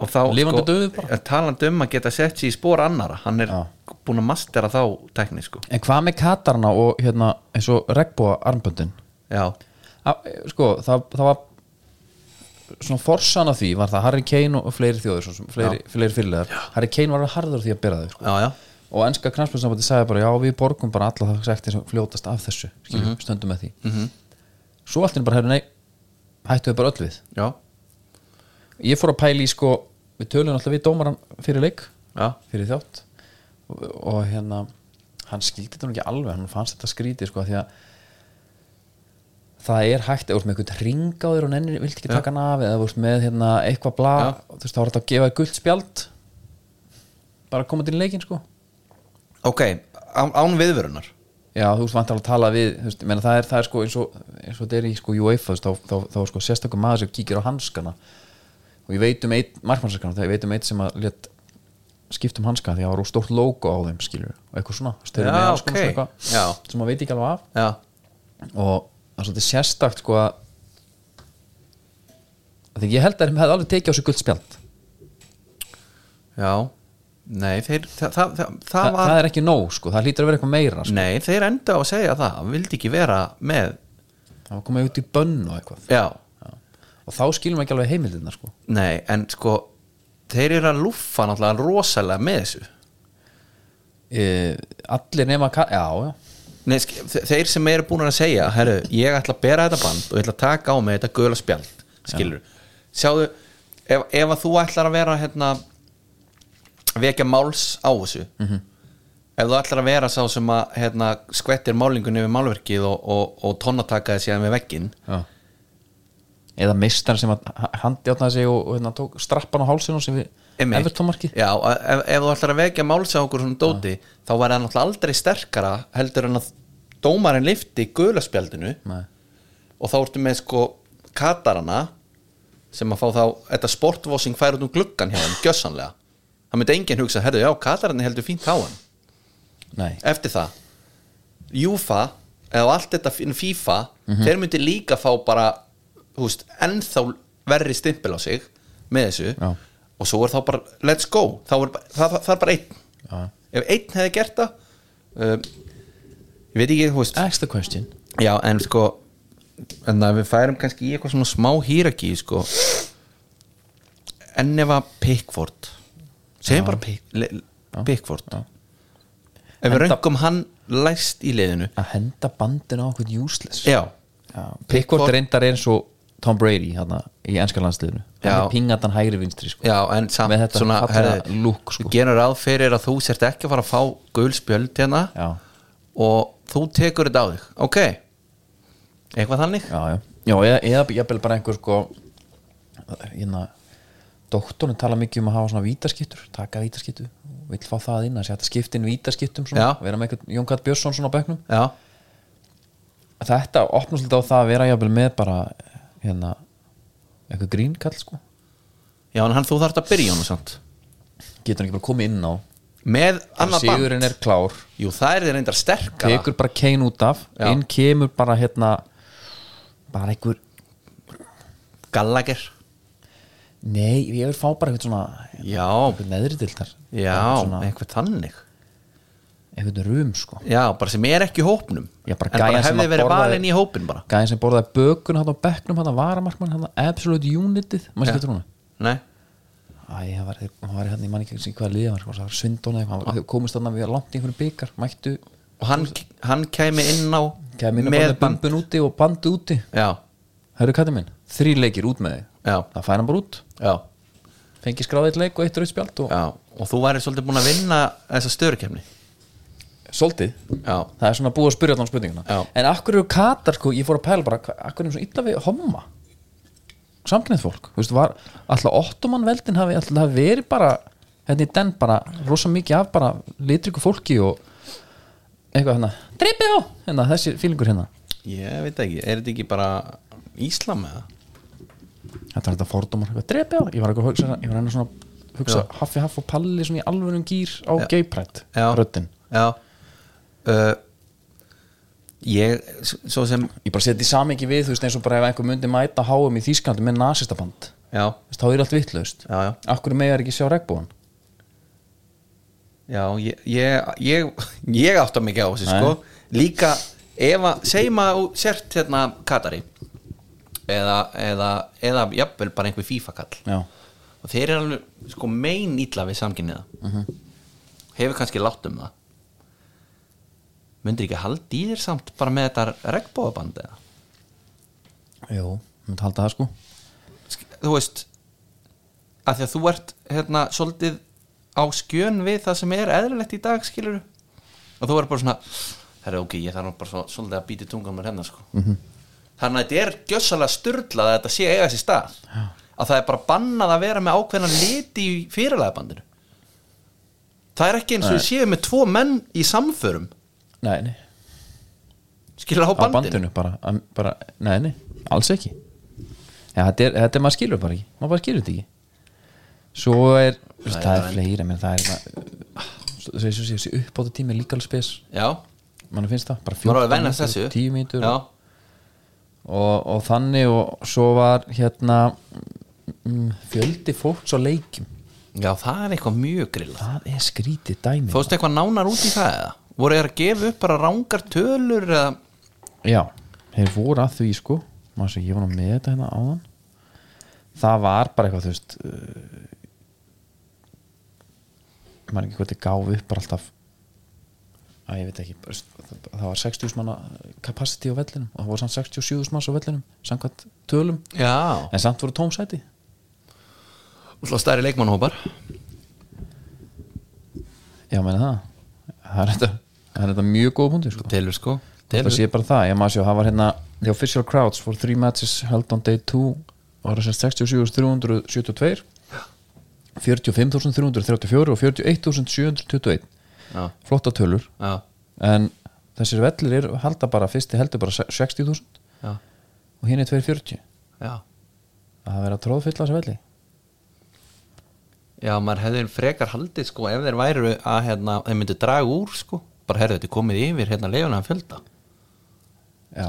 [SPEAKER 2] og þá sko,
[SPEAKER 1] Lifandi dauður bara.
[SPEAKER 2] talandi um að geta sett sér í spór annara hann er
[SPEAKER 1] Já.
[SPEAKER 2] búin að mastera þá tekni sko
[SPEAKER 1] En hvað með katarna og hérna eins og regnbúa armböndin
[SPEAKER 2] já,
[SPEAKER 1] Að, eh, Sko, það, það var svona forsan af því var það Harry Kane og fleiri þjóður svo sem, fleiri, fleiri fyrirlegar, Harry Kane var alveg harður á því að bera þau sko.
[SPEAKER 2] já, já,
[SPEAKER 1] og enska knarspilsambandi sagði bara já við borgum bara alla það sektir sem fljótast af þessu skilur, stöndum með því -hmm. svo allt er bara hefur nei hættu við bara öll við
[SPEAKER 2] já,
[SPEAKER 1] ég fór að pæla í sko við tölum alltaf við dómaran fyrir leik
[SPEAKER 2] já.
[SPEAKER 1] fyrir þjátt og, og hérna hann skildi þetta nú ekki alveg hann fannst þetta skrítið sko af því að það er hægt eða þú ert með einhvern ring á þér og nennir vilt ekki taka hann af eða þú ert með hérna eitthvað bla
[SPEAKER 2] Já.
[SPEAKER 1] þú veist þá er þetta að gefa þér gult spjald bara að koma til leikin sko
[SPEAKER 2] ok, án, án viðvörunar
[SPEAKER 1] Já, þú veist vantar að tala við þú veist, ég meina, það, er, það er sko eins og, eins og þetta er í sko UEFA þú veist, þá, þá, þá, er sko sérstakur maður sem kíkir á hanskana og ég veit um eitt markmannsarskana, þegar ég veit um eitt sem að let skipta um hanska því að það var stórt logo á þeim skilur og eitthvað svona,
[SPEAKER 2] Já,
[SPEAKER 1] styrðum með hanskana
[SPEAKER 2] ok.
[SPEAKER 1] svona
[SPEAKER 2] Já.
[SPEAKER 1] eitthvað, sem maður veit ekki alveg af
[SPEAKER 2] já,
[SPEAKER 1] og það er svolítið sérstakt sko að af því ég held að þeim hefði alveg tekið á sig guldspjald Þa,
[SPEAKER 2] já nei, þeir, það, það, það, það
[SPEAKER 1] það,
[SPEAKER 2] var
[SPEAKER 1] það er ekki nóg sko, það hlýtur að vera eitthvað meira sko.
[SPEAKER 2] nei, þeir enda á að segja það hann vildi ekki vera með
[SPEAKER 1] það var komið út í bönn og eitthvað
[SPEAKER 2] já,
[SPEAKER 1] og þá skilum við ekki alveg heimildina sko.
[SPEAKER 2] nei, en sko þeir eru að lúffa náttúrulega rosalega með þessu
[SPEAKER 1] e, allir nema ka- já, já,
[SPEAKER 2] Nei, sk- þe- þeir sem eru búin að segja herru, ég ætla að bera þetta band og ég ætla að taka á mig þetta gula spjald skilur, sjáðu ef, ef að þú ætlar að vera hérna vekja máls á þessu
[SPEAKER 1] Mhm.
[SPEAKER 2] ef þú ætlar að vera sá sem að hérna, skvettir málingunni við málverkið og, og, og tonnatakaði síðan við veggin
[SPEAKER 1] já. eða mistar sem að ha- handjátnaði sig og, og hérna, tók strappan á hálsinu sem við Evertómarki
[SPEAKER 2] Já, ef, ef þú ætlar að vekja máls á okkur svona dóti, þá var það náttúrulega aldrei sterkara heldur en að dómarinn lifti gula spjaldinu og þá ertu með sko katarana sem að fá þá þetta sportvosing fær út um gluggan hjá hann gjössanlega, það myndi enginn hugsa herðu já, katarana heldur fínt á hann
[SPEAKER 1] nei,
[SPEAKER 2] eftir það Júfa, eða allt þetta fín- FIFA þeir myndi líka fá bara þú veist, ennþá verri stimpil á sig með þessu
[SPEAKER 1] Já.
[SPEAKER 2] og svo er þá bara, let's go þá er, bara- það, það, það er bara einn
[SPEAKER 1] Já.
[SPEAKER 2] ef einn hefði gert það um, ég veit ekki, þú veist
[SPEAKER 1] ask the question
[SPEAKER 2] Já, en sko en að við færum kannski í eitthvað svona smá hýraki sko en ef að Pickford segjum bara Pick, le, Pickford ef við
[SPEAKER 1] Enda-
[SPEAKER 2] röngum hann læst í liðinu
[SPEAKER 1] að henda bandin á okkur useless
[SPEAKER 2] já,
[SPEAKER 1] Já, Pickford
[SPEAKER 2] Pickford-
[SPEAKER 1] reyndar eins og Tom Brady hana, í enska landsliðinu hann
[SPEAKER 2] Já.
[SPEAKER 1] er pingatan hægri vinstri sko.
[SPEAKER 2] já en samt
[SPEAKER 1] Með þetta
[SPEAKER 2] svona
[SPEAKER 1] fallega
[SPEAKER 2] herri,
[SPEAKER 1] lúk, sko.
[SPEAKER 2] við gerum ráð fyrir að þú sért ekki að fara að fá gulspjöld hérna
[SPEAKER 1] Já.
[SPEAKER 2] og þú tekur þetta á þig ok, eitthvað þannig
[SPEAKER 1] já, já, já eða, eða jafnvel bara einhver sko hérna doktorinn tala mikið um að hafa svona vítaskiptur taka vítaskiptu, vill fá það inn að sé hægt að skipta inn vítaskiptum svona,
[SPEAKER 2] Já.
[SPEAKER 1] vera með einhvern Jón Katt Björnsson svona á bekknum
[SPEAKER 2] já,
[SPEAKER 1] þetta opnast lítið á það að vera jafnvel með bara hérna einhver grínkall sko,
[SPEAKER 2] já en hann þú þarf að byrja hann og samt
[SPEAKER 1] getur hann ekki bara komið inn á
[SPEAKER 2] með annað band,
[SPEAKER 1] sigurinn er klár,
[SPEAKER 2] jú það er þér reyndar sterkara
[SPEAKER 1] tekur bara kein út af
[SPEAKER 2] Já.
[SPEAKER 1] inn kemur bara hérna bara einhver,
[SPEAKER 2] Gallagher
[SPEAKER 1] nei, ég vil fá bara einhvern svona,
[SPEAKER 2] Já,
[SPEAKER 1] einhvern neðri dildar
[SPEAKER 2] já,
[SPEAKER 1] svona,
[SPEAKER 2] eitthvað þannig
[SPEAKER 1] einhvern rum sko
[SPEAKER 2] Já, bara sem er ekki í hópnum
[SPEAKER 1] Já, bara
[SPEAKER 2] En bara
[SPEAKER 1] gæjan sem
[SPEAKER 2] hefði
[SPEAKER 1] að
[SPEAKER 2] verið
[SPEAKER 1] borðaði-
[SPEAKER 2] valinn í hópin bara
[SPEAKER 1] gæðin sem borðaði bökun hann á bekknum hann að varamarkmann hann að absolute unitið maður
[SPEAKER 2] Já.
[SPEAKER 1] sé getur hún
[SPEAKER 2] Nei,
[SPEAKER 1] Æ, hann var, hann var hann, ég man ekki sem hvað liða var, var svindón eða eitthvað, hann komist þarna við langt í einhverjum byggar, mættu
[SPEAKER 2] og hann, hann kæmi inn á
[SPEAKER 1] kemur
[SPEAKER 2] með
[SPEAKER 1] með
[SPEAKER 2] band
[SPEAKER 1] bumbun úti og bandu úti
[SPEAKER 2] Já,
[SPEAKER 1] herru kætti minn, þrý leikir út með þig
[SPEAKER 2] já,
[SPEAKER 1] það fær hann bara út,
[SPEAKER 2] já,
[SPEAKER 1] fengi skráðið leik og eitt rauð spjald og
[SPEAKER 2] já Og þú væri svolítið búin að vinna þessa störukefni
[SPEAKER 1] soldið,
[SPEAKER 2] Já,
[SPEAKER 1] það er svona búið að spyrja allan spurninguna,
[SPEAKER 2] Já.
[SPEAKER 1] en akkur eru katar sko, ég fór að pæla bara, hva- akkur eru svo illa við homma samkynið fólk, þú veist, var alltaf ottoman veldin hafi alltaf hafi verið bara hérna í den bara, rosa mikið af bara litriku fólki og eitthvað hérna, dreipið á hérna, þessi fílingur hérna,
[SPEAKER 2] ég veit ekki, er þetta ekki bara Íslam eða?
[SPEAKER 1] þetta er þetta fordómar eitthvað, dreipið á, ég var eitthvað að hugsa, ég var hérna svona að hugsa haffi haff og palli svona í alvörum gýr á
[SPEAKER 2] Já.
[SPEAKER 1] geiprætt,
[SPEAKER 2] Já.
[SPEAKER 1] röddin
[SPEAKER 2] Já uh, Ég, s- svo sem
[SPEAKER 1] ég bara seti í samingi við, þú veist, eins og bara ef einhver myndi mæta háum í Þýskalandi með nasistaband
[SPEAKER 2] já,
[SPEAKER 1] Þú veist, þá er allt vittlaust
[SPEAKER 2] já, já,
[SPEAKER 1] Akkur megar ekki sjá regnbúan
[SPEAKER 2] já ég, ég, ég, ég átta mikið á þessu
[SPEAKER 1] Nei.
[SPEAKER 2] sko líka ef að segjum að þú sért hérna Katari eða, eða, eða jafnvel bara einhver FIFA kall
[SPEAKER 1] Já,
[SPEAKER 2] og þeir eru alveg sko mein ítla við samkynniða hefur kannski látt um það myndir ekki haldi í þér samt bara með þetta regnbóðaband eða
[SPEAKER 1] jú, myndi halda það sko
[SPEAKER 2] Sk- þú veist að því að þú ert hérna svolítið á skjön við það sem er eðlilegt í dag skilur og þú er bara svona herra ok, ég þarf nú bara svo, svolítið að býti tungan mér hennar sko
[SPEAKER 1] Mhm.
[SPEAKER 2] -hmm. þannig að þetta er gjössalega styrlað að þetta sé að eiga sér stað Já. að það er bara bannað að vera með ákveðna liti í fyrirlæðabandinu það er ekki eins og við séum með tvo menn í samförum
[SPEAKER 1] Nei, nei,
[SPEAKER 2] skilur á
[SPEAKER 1] á
[SPEAKER 2] bandinu,
[SPEAKER 1] bandinu bara, am- bara Nei, nei, alls ekki Já, þetta er, þetta er maður skilur bara ekki Maður bara skilur þetta ekki Svo er, þú veist, það er fleira menn það er bara Það er svo sé, þessi uppbóta tími er líka alveg spes
[SPEAKER 2] Já,
[SPEAKER 1] Mann finnst það, bara
[SPEAKER 2] maður
[SPEAKER 1] 14
[SPEAKER 2] er að venja
[SPEAKER 1] mínútur,
[SPEAKER 2] þessu
[SPEAKER 1] 10 mínútur
[SPEAKER 2] Já,
[SPEAKER 1] og, og, og þannig og svo var hérna mm, fjöldi fólks á leikjum
[SPEAKER 2] já, það er eitthvað mjög grilla
[SPEAKER 1] Það er skrítið dæmi
[SPEAKER 2] Fóðstu eitthvað nánar út í það eða? Voru þeir að gefa upp bara rángar tölur eða?
[SPEAKER 1] Já, þeir voru að því sko maður sem ég var nú með þetta hérna áðan það var bara eitthvað þú veist uh, maður ekki hvað þetta gáf upp bara alltaf að ég veit ekki bara, veist, það það var 60 manna capacity á vellinum og það voru samt 67 manns á vellinum samkvæmt tölum
[SPEAKER 2] Já
[SPEAKER 1] en samt voru tómsæti
[SPEAKER 2] Útlá stærri leikmannhópar
[SPEAKER 1] já meina það það er þetta, það er þetta mjög góð punktur sko.
[SPEAKER 2] Telur sko
[SPEAKER 1] það sé bara það, ég maður sjá, það var hérna the official crowds for three matches held on day 2 var þess að 67.372 45.334 og 41.721
[SPEAKER 2] Já,
[SPEAKER 1] flotta tölur
[SPEAKER 2] já,
[SPEAKER 1] en þessir vellir er, halda bara fyrsti heldur bara 60.000
[SPEAKER 2] já,
[SPEAKER 1] og hinn er 240
[SPEAKER 2] já
[SPEAKER 1] það verður að tróðfylla þessa velli
[SPEAKER 2] Já, maður hefði frekar haldið sko ef þeir væru að hérna, þeir myndu draga úr sko bara herðu þetta er komið yfir hérna leifulega fjölda
[SPEAKER 1] já,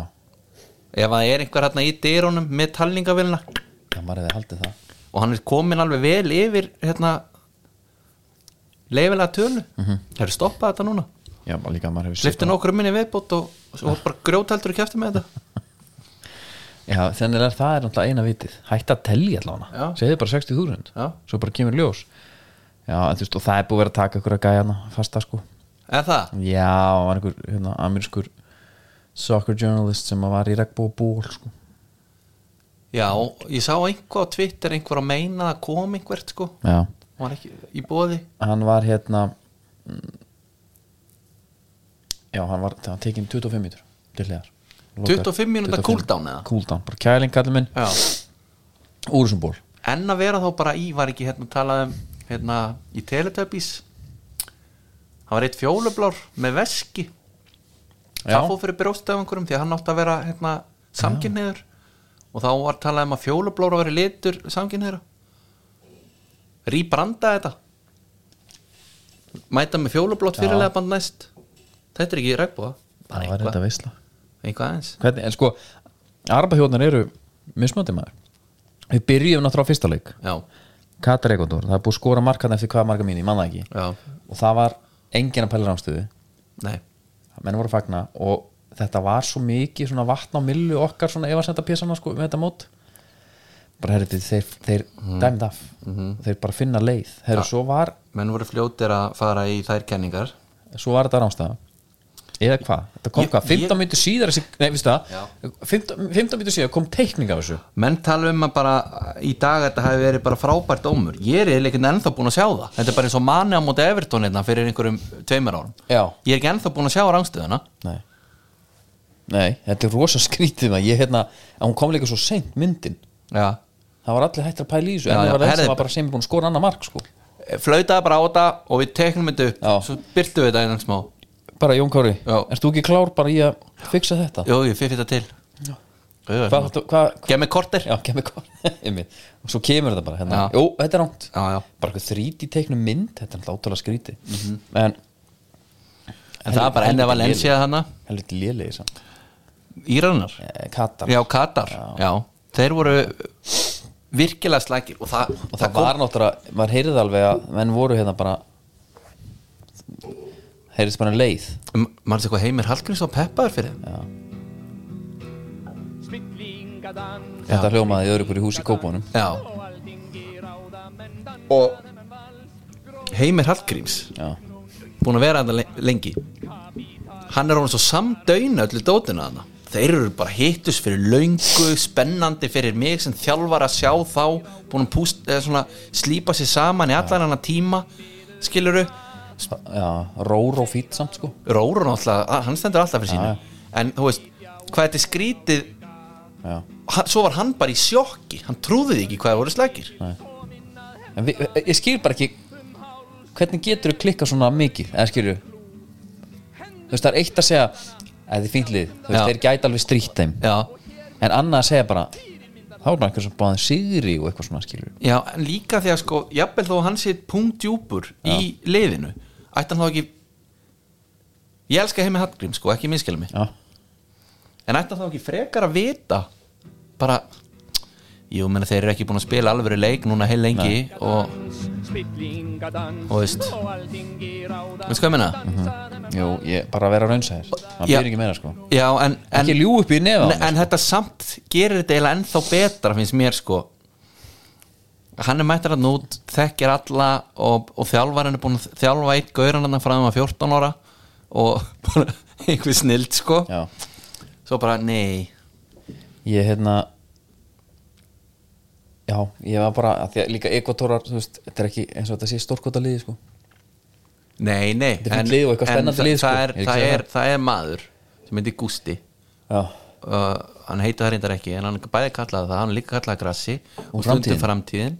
[SPEAKER 2] ef það er einhver hérna í dyrunum með talningavélina
[SPEAKER 1] það maður hefði haldið það
[SPEAKER 2] og hann er komin alveg vel yfir hérna leifulega tölu mm -hmm. hefur stoppað þetta núna
[SPEAKER 1] já, bara líka að maður hefur
[SPEAKER 2] Lifti nokkru minni viðbót og og svo bara grjótældur og kæfti með þetta
[SPEAKER 1] já, þannig að það er náttúrulega eina vitið hætt að telli allavega,
[SPEAKER 2] Já.
[SPEAKER 1] segðu bara 60.000
[SPEAKER 2] Já.
[SPEAKER 1] svo bara kemur ljós já, en þú veist, og það er búið að vera að taka ykkur að gæja hana fasta sko,
[SPEAKER 2] Eða það?
[SPEAKER 1] já, og var einhver hérna, amerískur soccer journalist sem var í regnbú og ból sko.
[SPEAKER 2] Já, ég sá einhver á Twitter einhver að meina að kom einhvert sko
[SPEAKER 1] já,
[SPEAKER 2] og hann ekki í bóði
[SPEAKER 1] hann var hérna mm, já, hann var það var tekin 25 mínútur til hliðar Lokaður.
[SPEAKER 2] 25 mínúta cooldown eða?
[SPEAKER 1] cooldown, bara kæling kallið minn
[SPEAKER 2] Já.
[SPEAKER 1] úr þessum ból
[SPEAKER 2] En að vera þá bara í var ekki hérna talað um hérna í Teletubbies Það var eitt fjólublár með veski
[SPEAKER 1] Já.
[SPEAKER 2] Það fóð fyrir bróstað af einhverjum því að hann átti að vera hérna samkynniður og þá var talað um að fjólublár að vera litur samkynniður Rýbranda þetta Mæta með fjólublátt fyrirlega band næst Þetta er ekki regnbúða
[SPEAKER 1] það var þetta veisla
[SPEAKER 2] Eitthvað aðeins
[SPEAKER 1] Hvernig, en sko, arabahjóðnar eru mismöndi maður við byrjum náttúrulega á fyrsta leik
[SPEAKER 2] Já,
[SPEAKER 1] Katar Ekondor, það er búið að skora markan eftir hvað marka mín, ég man það ekki
[SPEAKER 2] já,
[SPEAKER 1] og það var engin að pæla rámstöðu
[SPEAKER 2] nei
[SPEAKER 1] menn voru að fagna og þetta var svo mikið svona vatn á millu okkar svona efasenda pésana sko með þetta mót bara herrið þeir, þeir
[SPEAKER 2] Mhm.
[SPEAKER 1] dæmið af þeir bara finna leið herrið svo var
[SPEAKER 2] Menn voru fljótir að fara í þær kenningar
[SPEAKER 1] svo var þetta rámstöða eða hvað, þetta kom
[SPEAKER 2] Ég-
[SPEAKER 1] hvað, 15 mínútur síðar þessi- nei, viðstu það,
[SPEAKER 2] Já.
[SPEAKER 1] 15, 15 mínútur síðar kom teikning af þessu
[SPEAKER 2] Menn tala um að bara í dag þetta hafi verið bara frábært ómur Ég er eiginlega ekki ennþá búin að sjá það Þetta er bara eins og mani á móti Everton hérna fyrir einhverjum tveimur árum
[SPEAKER 1] já,
[SPEAKER 2] Ég er ekki ennþá búin að sjá rangstöðuna
[SPEAKER 1] nei nei, þetta er rosa skrítið maður. ég hérna, að hún kom líka svo seint myndin
[SPEAKER 2] Já
[SPEAKER 1] það var allir hættir að pæla í þessu
[SPEAKER 2] Já,
[SPEAKER 1] en
[SPEAKER 2] já,
[SPEAKER 1] það var einn
[SPEAKER 2] herrið-
[SPEAKER 1] sem var bara sem er búin að skora annað mark sko.
[SPEAKER 2] Eh, Flautaði bara á þetta og við teknum þetta upp
[SPEAKER 1] Já.
[SPEAKER 2] Svo byrtu við þetta einan smá
[SPEAKER 1] bara Jón Kári,
[SPEAKER 2] Já.
[SPEAKER 1] erst þú ekki klár bara í að fixa þetta?
[SPEAKER 2] Jú, ég fyrir þetta til Já, já,
[SPEAKER 1] Hvað, hvað, hvað,
[SPEAKER 2] Gemmi kortir
[SPEAKER 1] já, kemur hvað einmitt. og svo kemur þetta bara hérna
[SPEAKER 2] Já.
[SPEAKER 1] jú, þetta er rámt,
[SPEAKER 2] Já, já.
[SPEAKER 1] bara eitthvað þríti teiknum mynd þetta er alltaf ótrúlega skríti en
[SPEAKER 2] En það er bara ennið Valencia hana
[SPEAKER 1] helviti lélegi samt,
[SPEAKER 2] Íranar
[SPEAKER 1] Eh, Katar
[SPEAKER 2] Já, Katar Já, þeir voru virkilega slækir og það,
[SPEAKER 1] og það var náttúrulega, maður heyrði alveg að menn voru hérna bara heyrðist bara leið
[SPEAKER 2] kom mannst eitthvað heimir Hallgríms og peppaður fyrir þeim?
[SPEAKER 1] þetta hljómaði öðru hverju hús í kópunum
[SPEAKER 2] já,
[SPEAKER 3] og
[SPEAKER 2] heimir Hallgríms
[SPEAKER 1] já,
[SPEAKER 2] búin að vera þetta lengi hann er honum svo samdöina öllu dótina þarna þeir eru bara hittus fyrir löngu spennandi fyrir mig sem þjálfar að sjá þá búin að púst, eða svona, slípa sér saman í allan hann tíma skiluru,
[SPEAKER 1] já róró fýtt samt sko
[SPEAKER 2] Rórun alltaf, hann stendur alltaf fyrir sínu en þú veist, hvað þetta er skrítið
[SPEAKER 1] já.
[SPEAKER 2] hann, svo var hann bara í sjokki hann trúði því ekki hvað það voru slækir
[SPEAKER 1] en vi, ég skil bara ekki hvernig getur þú klikka svona mikið eða skilur þú veist það er eitt að segja eða þið fínt lið, þú veist
[SPEAKER 2] Já.
[SPEAKER 1] þeir gæti alveg strýtt þeim
[SPEAKER 2] já,
[SPEAKER 1] en annað að segja bara þá er bara eitthvað sem báðið sigri og eitthvað svona skilur
[SPEAKER 2] já, en líka því að sko jafnvel þó að hann sé punktjúpur í liðinu, ætti hann þá ekki ég elska heimi Hallgrím sko, ekki minnskjala mig
[SPEAKER 1] já,
[SPEAKER 2] en ætti hann þá ekki frekar að vita bara jú, menna þeir eru ekki búin að spila alvöru leik núna heil lengi og,
[SPEAKER 4] og
[SPEAKER 2] og veist veist hvað ég menna?
[SPEAKER 1] jú, ég, bara að vera raunsæðir það
[SPEAKER 2] Já.
[SPEAKER 1] byrði ekki meira sko
[SPEAKER 2] já, en, en
[SPEAKER 1] ekki ljú upp í nefa á
[SPEAKER 2] Nei, en þetta samt gerir þetta eiginlega ennþá betra finnst mér sko hann er mættur að nút, þekkir alla og, og þjálfarinn er búin að þjálfa eitt gauranarna frá þeim að 14 ára og bara einhver snild sko
[SPEAKER 1] Já,
[SPEAKER 2] svo bara nei
[SPEAKER 1] ég hérna Já, ég var bara að því að líka ekotórar, þú veist, þetta er ekki eins og þetta sé stórkota liði, sko
[SPEAKER 2] nei, nei,
[SPEAKER 1] Þetta er fínt lið og eitthvað spennandi
[SPEAKER 2] það,
[SPEAKER 1] lið, sko.
[SPEAKER 2] það, er,
[SPEAKER 1] Ég ekki
[SPEAKER 2] það,
[SPEAKER 1] segja
[SPEAKER 2] er, það er maður sem heitir Gústi
[SPEAKER 1] Já,
[SPEAKER 2] uh, hann heitir það reyndar ekki en hann bæði kallaði það, hann er líka kallaði grassi og,
[SPEAKER 1] Framtíðin.
[SPEAKER 2] stundum framtíðin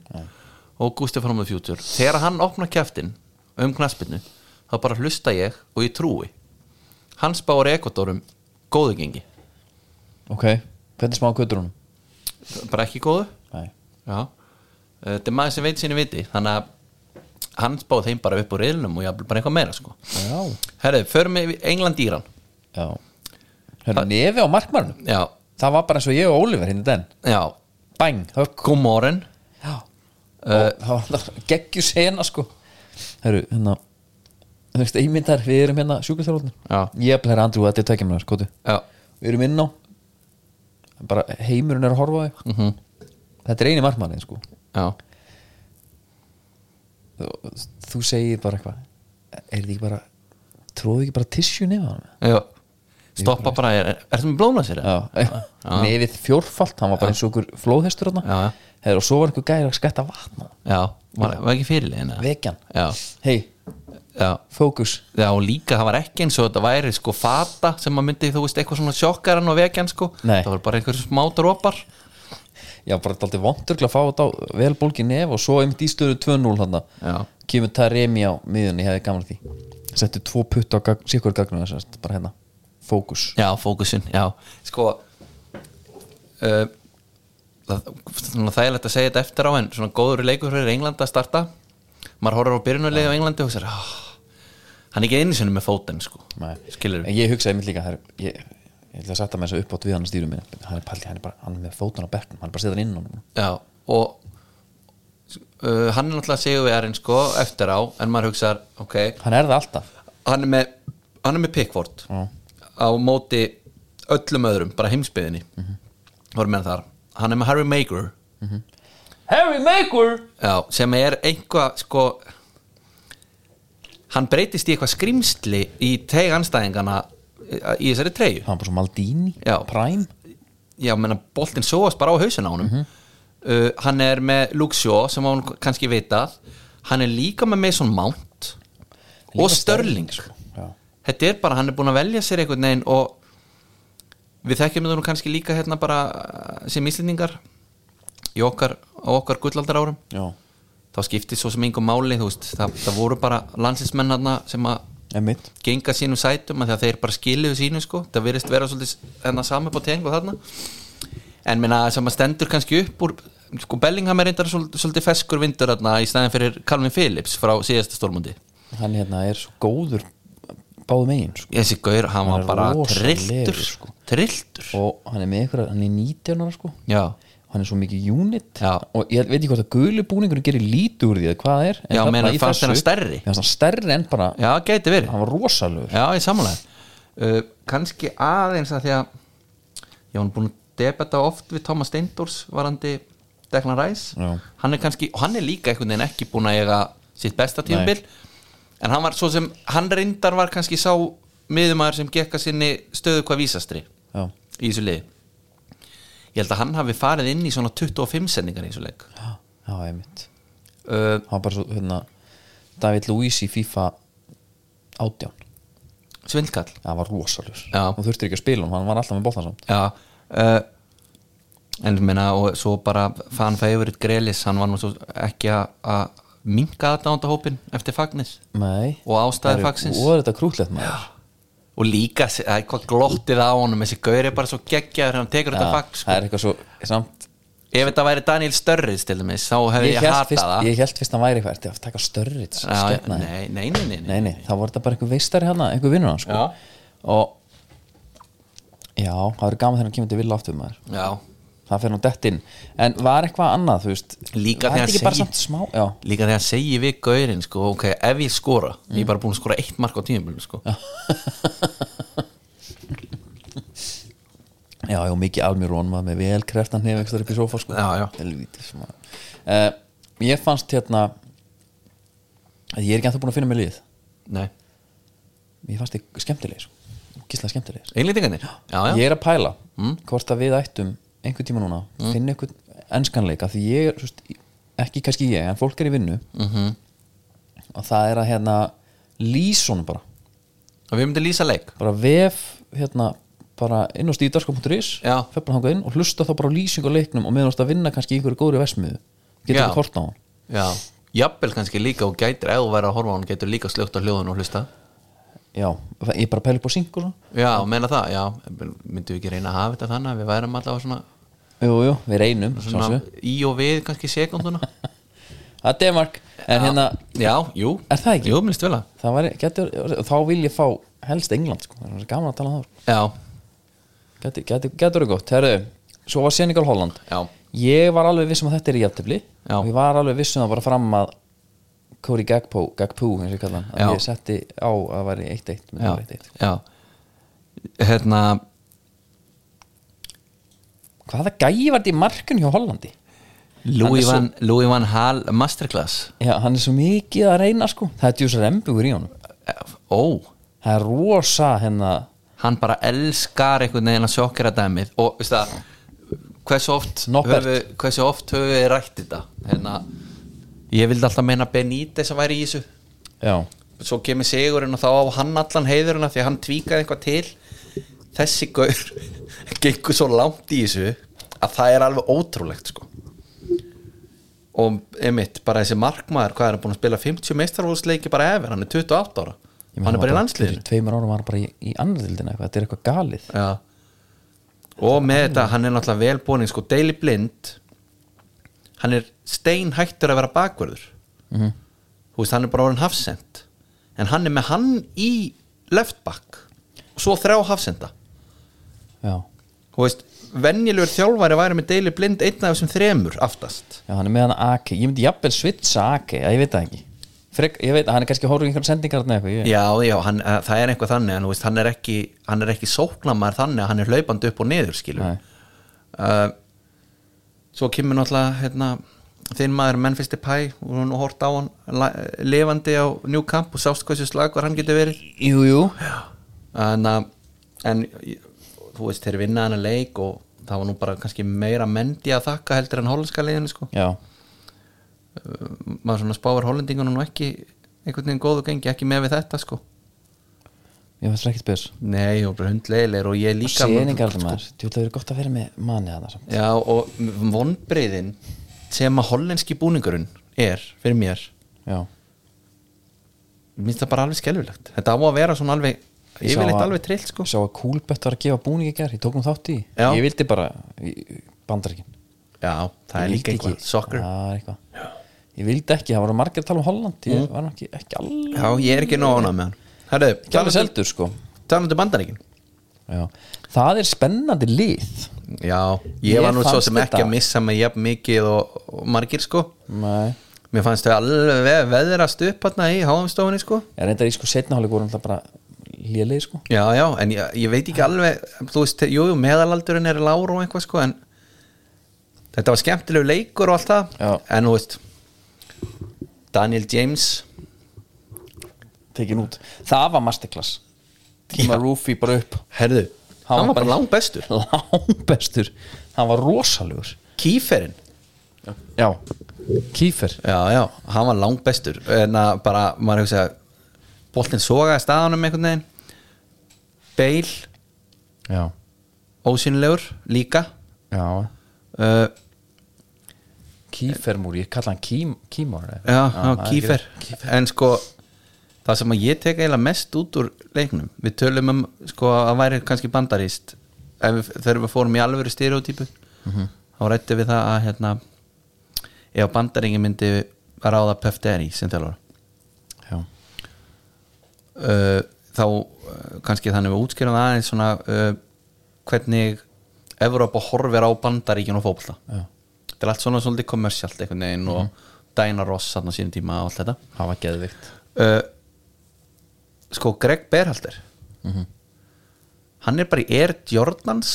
[SPEAKER 2] og Gústi from the future þegar hann opnar kjæftin um knaspinu þá bara hlusta ég og ég trúi hann spáur ekotorum góðu gengi
[SPEAKER 1] ok, hvernig smá kvöldur honum?
[SPEAKER 2] bara ekki góðu
[SPEAKER 1] Nei,
[SPEAKER 2] Já. Eh, þetta er maður sem veit sínu viti þannig að hann spáði þeim bara upp úr reyðlunum og jafnvel bara eitthvað meira sko
[SPEAKER 1] já
[SPEAKER 2] herðu, förum við England Íran
[SPEAKER 1] Já, hérna, nefi á markmarnum
[SPEAKER 2] já,
[SPEAKER 1] Það var bara eins og ég og Oliver hérna den
[SPEAKER 2] já,
[SPEAKER 1] Bang, högg
[SPEAKER 2] Gúmóren
[SPEAKER 1] Já, Eh, og það var það geggjur sena, sko Herru, hérna Þú veist, ímyndar, við erum hérna
[SPEAKER 2] Já.
[SPEAKER 1] sjúkulþjálfarnir Ég ætla herra Andrú, þetta er tveikjumlar, kóti
[SPEAKER 2] já,
[SPEAKER 1] við erum inn á bara heimurinn er að horfa á þig
[SPEAKER 2] Mhm.
[SPEAKER 1] þetta er eini markmannið sko
[SPEAKER 2] já,
[SPEAKER 1] þú, þú segir bara eitthvað er þið ekki bara tróðu ekki bara tissjú nefn hann
[SPEAKER 2] já. stoppa bara, er, er, ertu með blóna sér?
[SPEAKER 1] já, nefið fjórfalt hann var bara eins og okkur flóðhestur
[SPEAKER 2] Já, já.
[SPEAKER 1] hann Heður, og svo var einhver gæri að skætta vatna
[SPEAKER 2] Já, var, var ekki fyrirlegin eða?
[SPEAKER 1] vekjan,
[SPEAKER 2] Já,
[SPEAKER 1] hei,
[SPEAKER 2] já,
[SPEAKER 1] fókus
[SPEAKER 2] já, og líka það var ekki eins og þetta væri sko fata sem maður myndi, þú veist, eitthvað svona sjokkaran og vekjan sko
[SPEAKER 1] Nei.
[SPEAKER 2] Það var bara einhver smá dropar
[SPEAKER 1] já, bara þetta er vondurglega að fá þetta á vel bólgi nef og svo einmitt í stöðu 2-0 hann
[SPEAKER 2] Já.
[SPEAKER 1] kemur Taremi á miðunni, ég hefði gaman að því settu tvo putt á gag, sikkur gagnum bara hérna, fókus
[SPEAKER 2] Já, fókusun, já Sko uh, það, Svona þægilegt að segja þetta eftir á en svona góður leikur fyrir Englanda að starta Maður horfir á byrjunarlegi á Englandi og hugsar ah, Hann er ekki einu sinni með fótinn sko
[SPEAKER 1] Nei.
[SPEAKER 2] Skilur
[SPEAKER 1] En ég hugsaði mitt líka það er, ég, ég ætla að setja mig þess að upp átt við hann að stýru minni hann er palli, hann er bara, hann er með fótun á bekknum hann er bara að setja hann inn honum.
[SPEAKER 2] Já, og uh, hann er náttúrulega segjum við erinn sko eftir á, en maður hugsar ok,
[SPEAKER 1] hann er það alltaf
[SPEAKER 2] hann er með, hann er með Pickford
[SPEAKER 1] Já.
[SPEAKER 2] á móti öllum öðrum, bara heimsbyðinni mm voru með þar, hann er með Harry Maker
[SPEAKER 1] Harry Maker
[SPEAKER 2] já, sem er einhvað sko hann breytist í eitthvað skrimsli í teg anstæðingana í þessari treyju
[SPEAKER 1] hann er bara svo Maldini,
[SPEAKER 2] Já.
[SPEAKER 1] Prime
[SPEAKER 2] já, menna, boltinn sóast bara á hausin á honum
[SPEAKER 1] Mhm.
[SPEAKER 2] uh, hann er með Luke Shaw sem hann kannski vitað hann er líka með Mason Mount og
[SPEAKER 1] Líka
[SPEAKER 2] Störling
[SPEAKER 1] sko. Já.
[SPEAKER 2] þetta er bara, hann er búin að velja sér einhvern veginn og við þekkjum þetta nú kannski líka hérna bara uh, sem íslendingar í okkar, á okkar gullaldar árum
[SPEAKER 1] Já.
[SPEAKER 2] þá skiptið svo sem einhver máli þú veist, það, það voru bara landsinsmennarna sem að
[SPEAKER 1] Emmitt
[SPEAKER 2] genga sínum sætum af því að þeir bara skiluðu sínu sko það virðist vera svolítið hennar saman på tengu þarna en minna sem að stendur kannski upp úr sko Bellingham er reyndar svol- svolítið feskur vindur þarna í stæðin fyrir Calvin Phillips frá síðasta stórmundi
[SPEAKER 1] hann hérna er svo góður báðu megin sko.
[SPEAKER 2] þessi gaur, hann
[SPEAKER 1] Hann
[SPEAKER 2] var
[SPEAKER 1] er
[SPEAKER 2] bara
[SPEAKER 1] rosalegur,
[SPEAKER 2] trilltur
[SPEAKER 1] sko.
[SPEAKER 2] trilltur
[SPEAKER 1] og hann er með ykkur, hann er 19 ára sko
[SPEAKER 2] já,
[SPEAKER 1] og hann er svo mikið unit
[SPEAKER 2] Já.
[SPEAKER 1] og ég veit ekki hvort að gulu búningur gerir lítið úr því að hvað er en
[SPEAKER 2] Já,
[SPEAKER 1] þarna
[SPEAKER 2] meina,
[SPEAKER 1] í
[SPEAKER 2] fannst
[SPEAKER 1] þessu-
[SPEAKER 2] hennar stærri?
[SPEAKER 1] Mér fannst hann stærri en bara,
[SPEAKER 2] já, gæti verið
[SPEAKER 1] hann var rosalur
[SPEAKER 2] Já, ég samanlega uh, Kanski aðeins að því að ég var búin að debata oft við Thomas Steindors varandi Declan Rice
[SPEAKER 1] Já.
[SPEAKER 2] hann er kannski, og hann er líka einhvern veginn ekki búin að eiga sitt besta tímabil en hann var svo sem, hann reyndar var kannski sá miðumæður sem gekka sinni stöðu hvað vísastri
[SPEAKER 1] Já.
[SPEAKER 2] í þessu liði ég held að hann hafi farið inn í svona 25 sendingar í þessu leik
[SPEAKER 1] Já, ég mitt
[SPEAKER 2] uh,
[SPEAKER 1] hann var bara svo, hérna, David Luiz í FIFA 18
[SPEAKER 2] svindkall
[SPEAKER 1] það var rosalur
[SPEAKER 2] Já.
[SPEAKER 1] og þurfti ekki að spila um hann, hann var alltaf með bóttan samt
[SPEAKER 2] Já uh, En ég meina og svo bara fan favorite Grelis, hann var nú svo ekki að- að minka aðdánda hópin eftir Fagnis
[SPEAKER 1] Nei,
[SPEAKER 2] og ástæði
[SPEAKER 1] Herru,
[SPEAKER 2] Fagsins
[SPEAKER 1] og er þetta krútlegt maður
[SPEAKER 2] og líka se- að eitthvað glottið á honum þessi gaur er bara svo geggjaður hann tekur þetta Fag sko.
[SPEAKER 1] það er eitthvað svo samt,
[SPEAKER 2] ef þetta væri Daniel Störris til dæmis þá hefði
[SPEAKER 1] ég,
[SPEAKER 2] ég,
[SPEAKER 1] hélt
[SPEAKER 2] hatað
[SPEAKER 1] fyrst,
[SPEAKER 2] það
[SPEAKER 1] ég held fyrst hann væri eitthvað ertu að taka störri
[SPEAKER 2] Já,
[SPEAKER 1] skepna þér.
[SPEAKER 2] nei, nei, nei, nei, nei.
[SPEAKER 1] nei, nei, þá var þetta bara einhver veistari hana einhver vinnur hann sko og já, það verður gaman þegar hann kemur til vilja aftur maður
[SPEAKER 2] Já,
[SPEAKER 1] það fer nú dett inn, en var eitthvað annað þú veist,
[SPEAKER 2] Líka
[SPEAKER 1] var
[SPEAKER 2] þegar
[SPEAKER 1] þetta ekki bara
[SPEAKER 2] segi-
[SPEAKER 1] samt smá já,
[SPEAKER 2] líka þegar hann segi við gaurinn sko, ok, ef ég skora,
[SPEAKER 1] Mm.
[SPEAKER 2] ég er bara búin að skora eitt mark á tímum sko.
[SPEAKER 1] já, já, mikið almirón maður með vel kreftan hefekstur upp í sófa sko
[SPEAKER 2] Já, já.
[SPEAKER 1] Helvítis, maður. Eh, ég fannst hérna að ég er ekki að það búin að finna mig lið
[SPEAKER 2] Nei,
[SPEAKER 1] ég fannst þið skemmtilegir sko. gísla skemmtilegir
[SPEAKER 2] einlýtingarnir Já, já,
[SPEAKER 1] ég er að pæla mm, hvort að við ættum einhvern tíma núna,
[SPEAKER 2] Mm.
[SPEAKER 1] finna einhvern enskanleika því ég er, svist, ekki kannski ég en fólk er í vinnu
[SPEAKER 2] Mhm.
[SPEAKER 1] -hmm. og það er að hérna lýsónum bara,
[SPEAKER 2] og við myndum lýsa leik
[SPEAKER 1] bara vef hérna bara inn á stíðdarsko.is
[SPEAKER 2] Já.
[SPEAKER 1] fer bara hangað inn og hlusta þá bara á lýsing á leiknum og meðan þú ert að vinna kannski í einhverju góðri versmiðu getur
[SPEAKER 2] Já.
[SPEAKER 1] við kort á hann
[SPEAKER 2] Já, jafnvel kannski líka og gætir ef þú væri að horfa á hann, getur líka slögt á hljóðun og hlusta
[SPEAKER 1] já, það- ég er bara að pæla upp á syngur og svona
[SPEAKER 2] Já, meina það, já, myndum við ekki reyna að hafa þetta þannig að við værum allavega svona,
[SPEAKER 1] jú, jú, við reynum
[SPEAKER 2] svona
[SPEAKER 1] sjálfsögðu.
[SPEAKER 2] í og við kannski sekunduna
[SPEAKER 1] það er Denmark en hérna,
[SPEAKER 2] Já, jú,
[SPEAKER 1] Er það ekki?
[SPEAKER 2] Jú, minnst vel að
[SPEAKER 1] það væri, getur, þá vil ég fá helst England sko, það er svo gaman að tala um það sko.
[SPEAKER 2] Já,
[SPEAKER 1] getur, getur, getur það gott, herru svo var Senegal Holland
[SPEAKER 2] já,
[SPEAKER 1] ég var alveg vissum að þetta er í jæftabli
[SPEAKER 2] Já.
[SPEAKER 1] og ég var alveg vissum að bara fram að Cody Gagpo, Gagpo eins og ég kalla hann,
[SPEAKER 2] Já.
[SPEAKER 1] að ég setti á að það væri 1-1 myndi vera 1-1.
[SPEAKER 2] já, já Hérna,
[SPEAKER 1] hvaða gæi var þetta í markun hjá Hollandi
[SPEAKER 2] Louis
[SPEAKER 1] Hann
[SPEAKER 2] Van, Louis Van Hall Masterclass
[SPEAKER 1] já, hann er svo mikið að reyna sko það er djúsar embugur í honum
[SPEAKER 2] Ó,
[SPEAKER 1] það er rosa hérna
[SPEAKER 2] hann bara elskar einhvern veginn að sjokkera dæmið og veist það hversu oft
[SPEAKER 1] Norbert.
[SPEAKER 2] höfum- hversu oft höfum við rætt þetta hérna, ég vildi alltaf meina Benítez að væri í þessu
[SPEAKER 1] já,
[SPEAKER 2] svo kemur Sigurinn og þá á hann allan heiðurinn af því að hann tvíkaði eitthvað til þessi gaur gengur svo langt í þessu að það er alveg ótrúlegt sko og einmitt bara þessi markmaður, hvað er hann búin að spila 50 meistarfólksleiki bara efir, hann er 28 ára
[SPEAKER 1] Ég meina,
[SPEAKER 2] hann er bara í
[SPEAKER 1] fyrir
[SPEAKER 2] landsliðinu
[SPEAKER 1] tveimur árum var hann bara í, í annaðildina eitthvað, þetta er eitthvað galið
[SPEAKER 2] Já. og með þetta hann er náttúrulega velbúin sko Daily Blind hann er steinhættur að vera bakverður þú veist hann er bara orðin hafsend en hann er með hann í left back og svo þrjá hafsenda
[SPEAKER 1] já.
[SPEAKER 2] þú veist venjulegur þjálfæri væri með Daily Blind einn af þessum þremur aftast
[SPEAKER 1] já, hann er með hann AK ég myndi jafnvel svitsa AK, já, ég veit það ekki Frek, ég veit, hann er kannski horfður í einhverjum sendingar þarna eitthvað, ég,
[SPEAKER 2] já já hann, eh, það er eitthvað þannig en þú veist hann er ekki hann er ekki sóknamaður þannig að hann er hlaupandi upp og niður skilur
[SPEAKER 1] Nei.
[SPEAKER 2] uh, svo kemur náttúrulega hérna, þinn maður Memphis Depay og hún hort á hann la- lifandi á New Camp og sást hversu slagur hann getur verið
[SPEAKER 1] jú, jú,
[SPEAKER 2] en, uh, en ég- þú veist þeir vinna hann að leik og það var nú bara kannski meira mendi að þakka heldur en hollenska leiðinu sko
[SPEAKER 1] já
[SPEAKER 2] maður svona spáir hollendingunum nú ekki einhvern veginn góðu gengi, ekki með við þetta sko
[SPEAKER 1] ég veist ekki spes
[SPEAKER 2] nei og bara hundleilir og ég líka sko.
[SPEAKER 1] seningar þarna, þú ætla að vera gott að vera með manni að það
[SPEAKER 2] Já og vonbreyðin sem að hollenski búningurinn er fyrir mér,
[SPEAKER 1] já,
[SPEAKER 2] mér finnst það bara alveg skelfilegt þetta á að vera svona alveg
[SPEAKER 1] Ég sá
[SPEAKER 2] yfirleitt
[SPEAKER 1] að-
[SPEAKER 2] alveg trillt sko
[SPEAKER 1] sá að Kúlbett var að gefa búningi gær, ég tók hún þátt í
[SPEAKER 2] Já.
[SPEAKER 1] ég vildi bara, ég- bandarikin
[SPEAKER 2] Já, það er
[SPEAKER 1] Ég vildi
[SPEAKER 2] líka eitthvað,
[SPEAKER 1] ekki-
[SPEAKER 2] soccer
[SPEAKER 1] Já, eitthvað. ég vildi ekki, það voru margir að tala um Holland
[SPEAKER 2] Mm.
[SPEAKER 1] ég var nú ekki, ekki alveg
[SPEAKER 2] Já, ég er ekki nóg ánað með hann Herðu,
[SPEAKER 1] ekki alveg
[SPEAKER 2] talandi-
[SPEAKER 1] seldur sko
[SPEAKER 2] talandi um bandaríkin
[SPEAKER 1] Já. Það er spennandi lið
[SPEAKER 2] Já, ég,
[SPEAKER 1] Mér
[SPEAKER 2] var nú svo
[SPEAKER 1] fannst
[SPEAKER 2] sem ekki
[SPEAKER 1] þetta-
[SPEAKER 2] að missa mig jafn mikið og, og margir sko
[SPEAKER 1] Nei
[SPEAKER 2] Mér fannst þau alveg veðrast upp hérna í háamstofunni sko
[SPEAKER 1] Ég reyndar í sko setna hálfleik voru alltaf bara lélegir sko
[SPEAKER 2] Já, já, en ég, ég veit ekki alveg þú veist, jú, jú, meðalaldurinn er lágur og eitthvað sko en þetta var skemmtilegu leikur og allt það
[SPEAKER 1] Já.
[SPEAKER 2] en þú veist Daniel James
[SPEAKER 1] Tekin út Það var masterclass Tíma Rúfi bara upp
[SPEAKER 2] Herðu, hann, var bara langt bestur
[SPEAKER 1] Langbestur Hann var rosalegur
[SPEAKER 2] Kíferinn
[SPEAKER 1] Já Kífer
[SPEAKER 2] Já, já, hann var langt bestur en að bara, maður hefur segja boltinn sogaði staðanum einhvern veginn Beil,
[SPEAKER 1] Já
[SPEAKER 2] ósynlegur líka
[SPEAKER 1] Já
[SPEAKER 2] uh,
[SPEAKER 1] Kífermúr, ég kalla hann Kím, Kímor eða? Ah,
[SPEAKER 2] Já, já
[SPEAKER 1] maður
[SPEAKER 2] kífer.
[SPEAKER 1] gerir-
[SPEAKER 2] En sko það sem að ég tek eiginlega mest út úr leiknum við tölum um sko að það væri kannski bandarist ef við, þegar við fórum í alvöru stereotypu þá rættu við það að hérna ef bandaringi myndi ráða Puff Daddy sem þjálfara
[SPEAKER 1] Já
[SPEAKER 2] uh, þá uh, kannski þannig við útskýrum það aðeins svona uh, hvernig Evrópa horfir á bandaríkjun og fótbolta
[SPEAKER 1] Já.
[SPEAKER 2] þetta er allt svona svolítið kommersjalt einhvern veginn
[SPEAKER 1] Mhm.
[SPEAKER 2] og Dæna Ross þarna á sínum tíma og allt þetta
[SPEAKER 1] Það var geðvikt
[SPEAKER 2] uh, sko Greg Berhalter
[SPEAKER 1] Mhm.
[SPEAKER 2] hann er bara í Air Jordans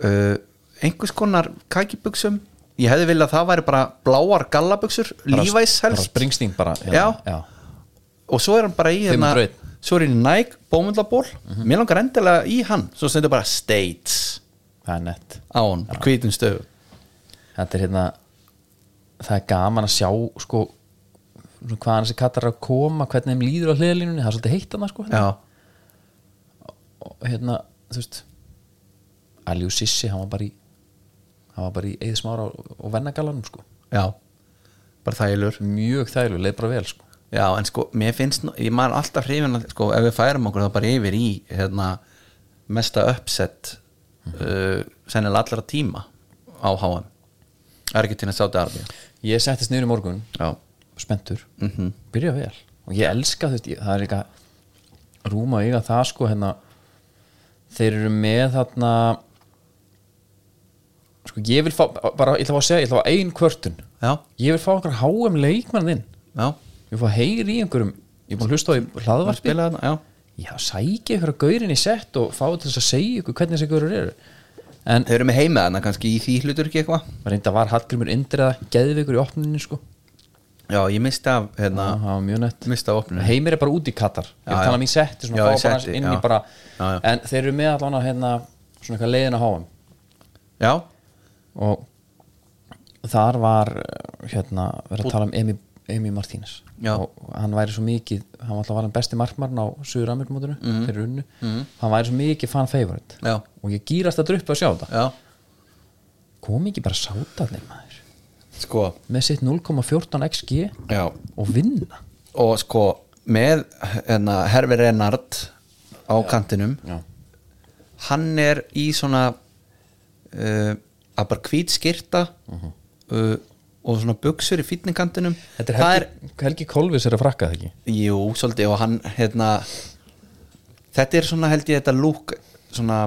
[SPEAKER 2] uh, einhvers konar kakibuxum ég hefði viljað að það væri bara bláar gallabuxur Levi's
[SPEAKER 1] Bara
[SPEAKER 2] helst
[SPEAKER 1] Springsteen bara hérna.
[SPEAKER 2] Já. og svo er hann bara í
[SPEAKER 1] Fimm
[SPEAKER 2] hérna,
[SPEAKER 1] braut. Mhm.
[SPEAKER 2] svo er hann í Nike bómundlaból mér langar endilega í hann svo stendur bara States
[SPEAKER 1] Það er nett
[SPEAKER 2] á hann, ja. hvítum stöðu
[SPEAKER 1] Þetta er hérna Það er gaman að sjá sko svona hvaðan þessi kattar er að koma hvernig þeim líður á hliðalínunni, það er svolítið heitt hana sko
[SPEAKER 2] já,
[SPEAKER 1] og hérna, þú veist Aljú Sissi, hann var bara í hann var bara í eða smára og, og vennagallanum sko,
[SPEAKER 2] já bara þælur
[SPEAKER 1] mjög þælu, leið bara vel sko
[SPEAKER 2] já, en sko, mér finnst, nú- ég maður alltaf hrifin að, sko, ef við færum okkur þá bara yfir í hérna, mesta uppsett
[SPEAKER 1] Mhm.
[SPEAKER 2] uh, sennilega allra tíma á HM Argentina Saudi Arabia
[SPEAKER 1] Ég settist niður í morgun,
[SPEAKER 2] já,
[SPEAKER 1] spenntur byrja vel, og ég elska þú veist, ég, það er eitthvað rúma eiga það sko hérna þeir eru með þarna sko ég vil fá bara, ég ætla að fá að segja, ég ætla að fá ein kvörtun
[SPEAKER 2] já,
[SPEAKER 1] ég vil fá einhver HM leikmann þinn
[SPEAKER 2] já,
[SPEAKER 1] ég vil fá heyri í einhverjum ég er búin að hlusta á í hlaðvarpi
[SPEAKER 2] spila þarna, já
[SPEAKER 1] já, sækja ykkur að gaurin í sett og fá til þess að segja ykkur hvernig þessi gaurur eru en
[SPEAKER 2] Þeir eru með heima þarna kannski í því hlutur ekki eitthvað
[SPEAKER 1] reynda var Hallgrimur Indriða geðvikur í opninni sko
[SPEAKER 2] Já, ég misti af, hérna,
[SPEAKER 1] það var mjög nett
[SPEAKER 2] misti af opninu
[SPEAKER 1] heimir er bara út í Katar ég
[SPEAKER 2] Já,
[SPEAKER 1] er
[SPEAKER 2] já.
[SPEAKER 1] að tala um í setti
[SPEAKER 2] Já,
[SPEAKER 1] svona,
[SPEAKER 2] í
[SPEAKER 1] fá bara
[SPEAKER 2] setti,
[SPEAKER 1] aðeins inn
[SPEAKER 2] já.
[SPEAKER 1] í bara
[SPEAKER 2] Já, já.
[SPEAKER 1] en þeir eru með allan að hérna svona eitthvað leiðin að háum
[SPEAKER 2] Já,
[SPEAKER 1] og þar var eh, hérna verið að tala um Emi, Emi Martínez
[SPEAKER 2] Já.
[SPEAKER 1] og hann væri svo mikið hann var alltaf var hann besti markmarn á Suður-Amirmótinu fyrir unnu, hann væri svo mikið fan favorite
[SPEAKER 2] Mhm. Já.
[SPEAKER 1] og ég gýrast að druppa að sjá þetta
[SPEAKER 2] já
[SPEAKER 1] kom ekki bara sátarnir maður
[SPEAKER 2] Sko,
[SPEAKER 1] með sitt 0,14 XG
[SPEAKER 2] já
[SPEAKER 1] og vinna
[SPEAKER 2] Og sko, með, hérna, Herfi Renard á kantinum
[SPEAKER 1] já.
[SPEAKER 2] Hann er í svona uh, að bara hvít skyrta uh, og svona buksur í fýtninkantinum
[SPEAKER 1] Mhm. Þetta er Helgi, Helgi Kolvis er að frakka það ekki
[SPEAKER 2] Jú, svolítið og hann hérna, þetta er svona held ég þetta lúk svona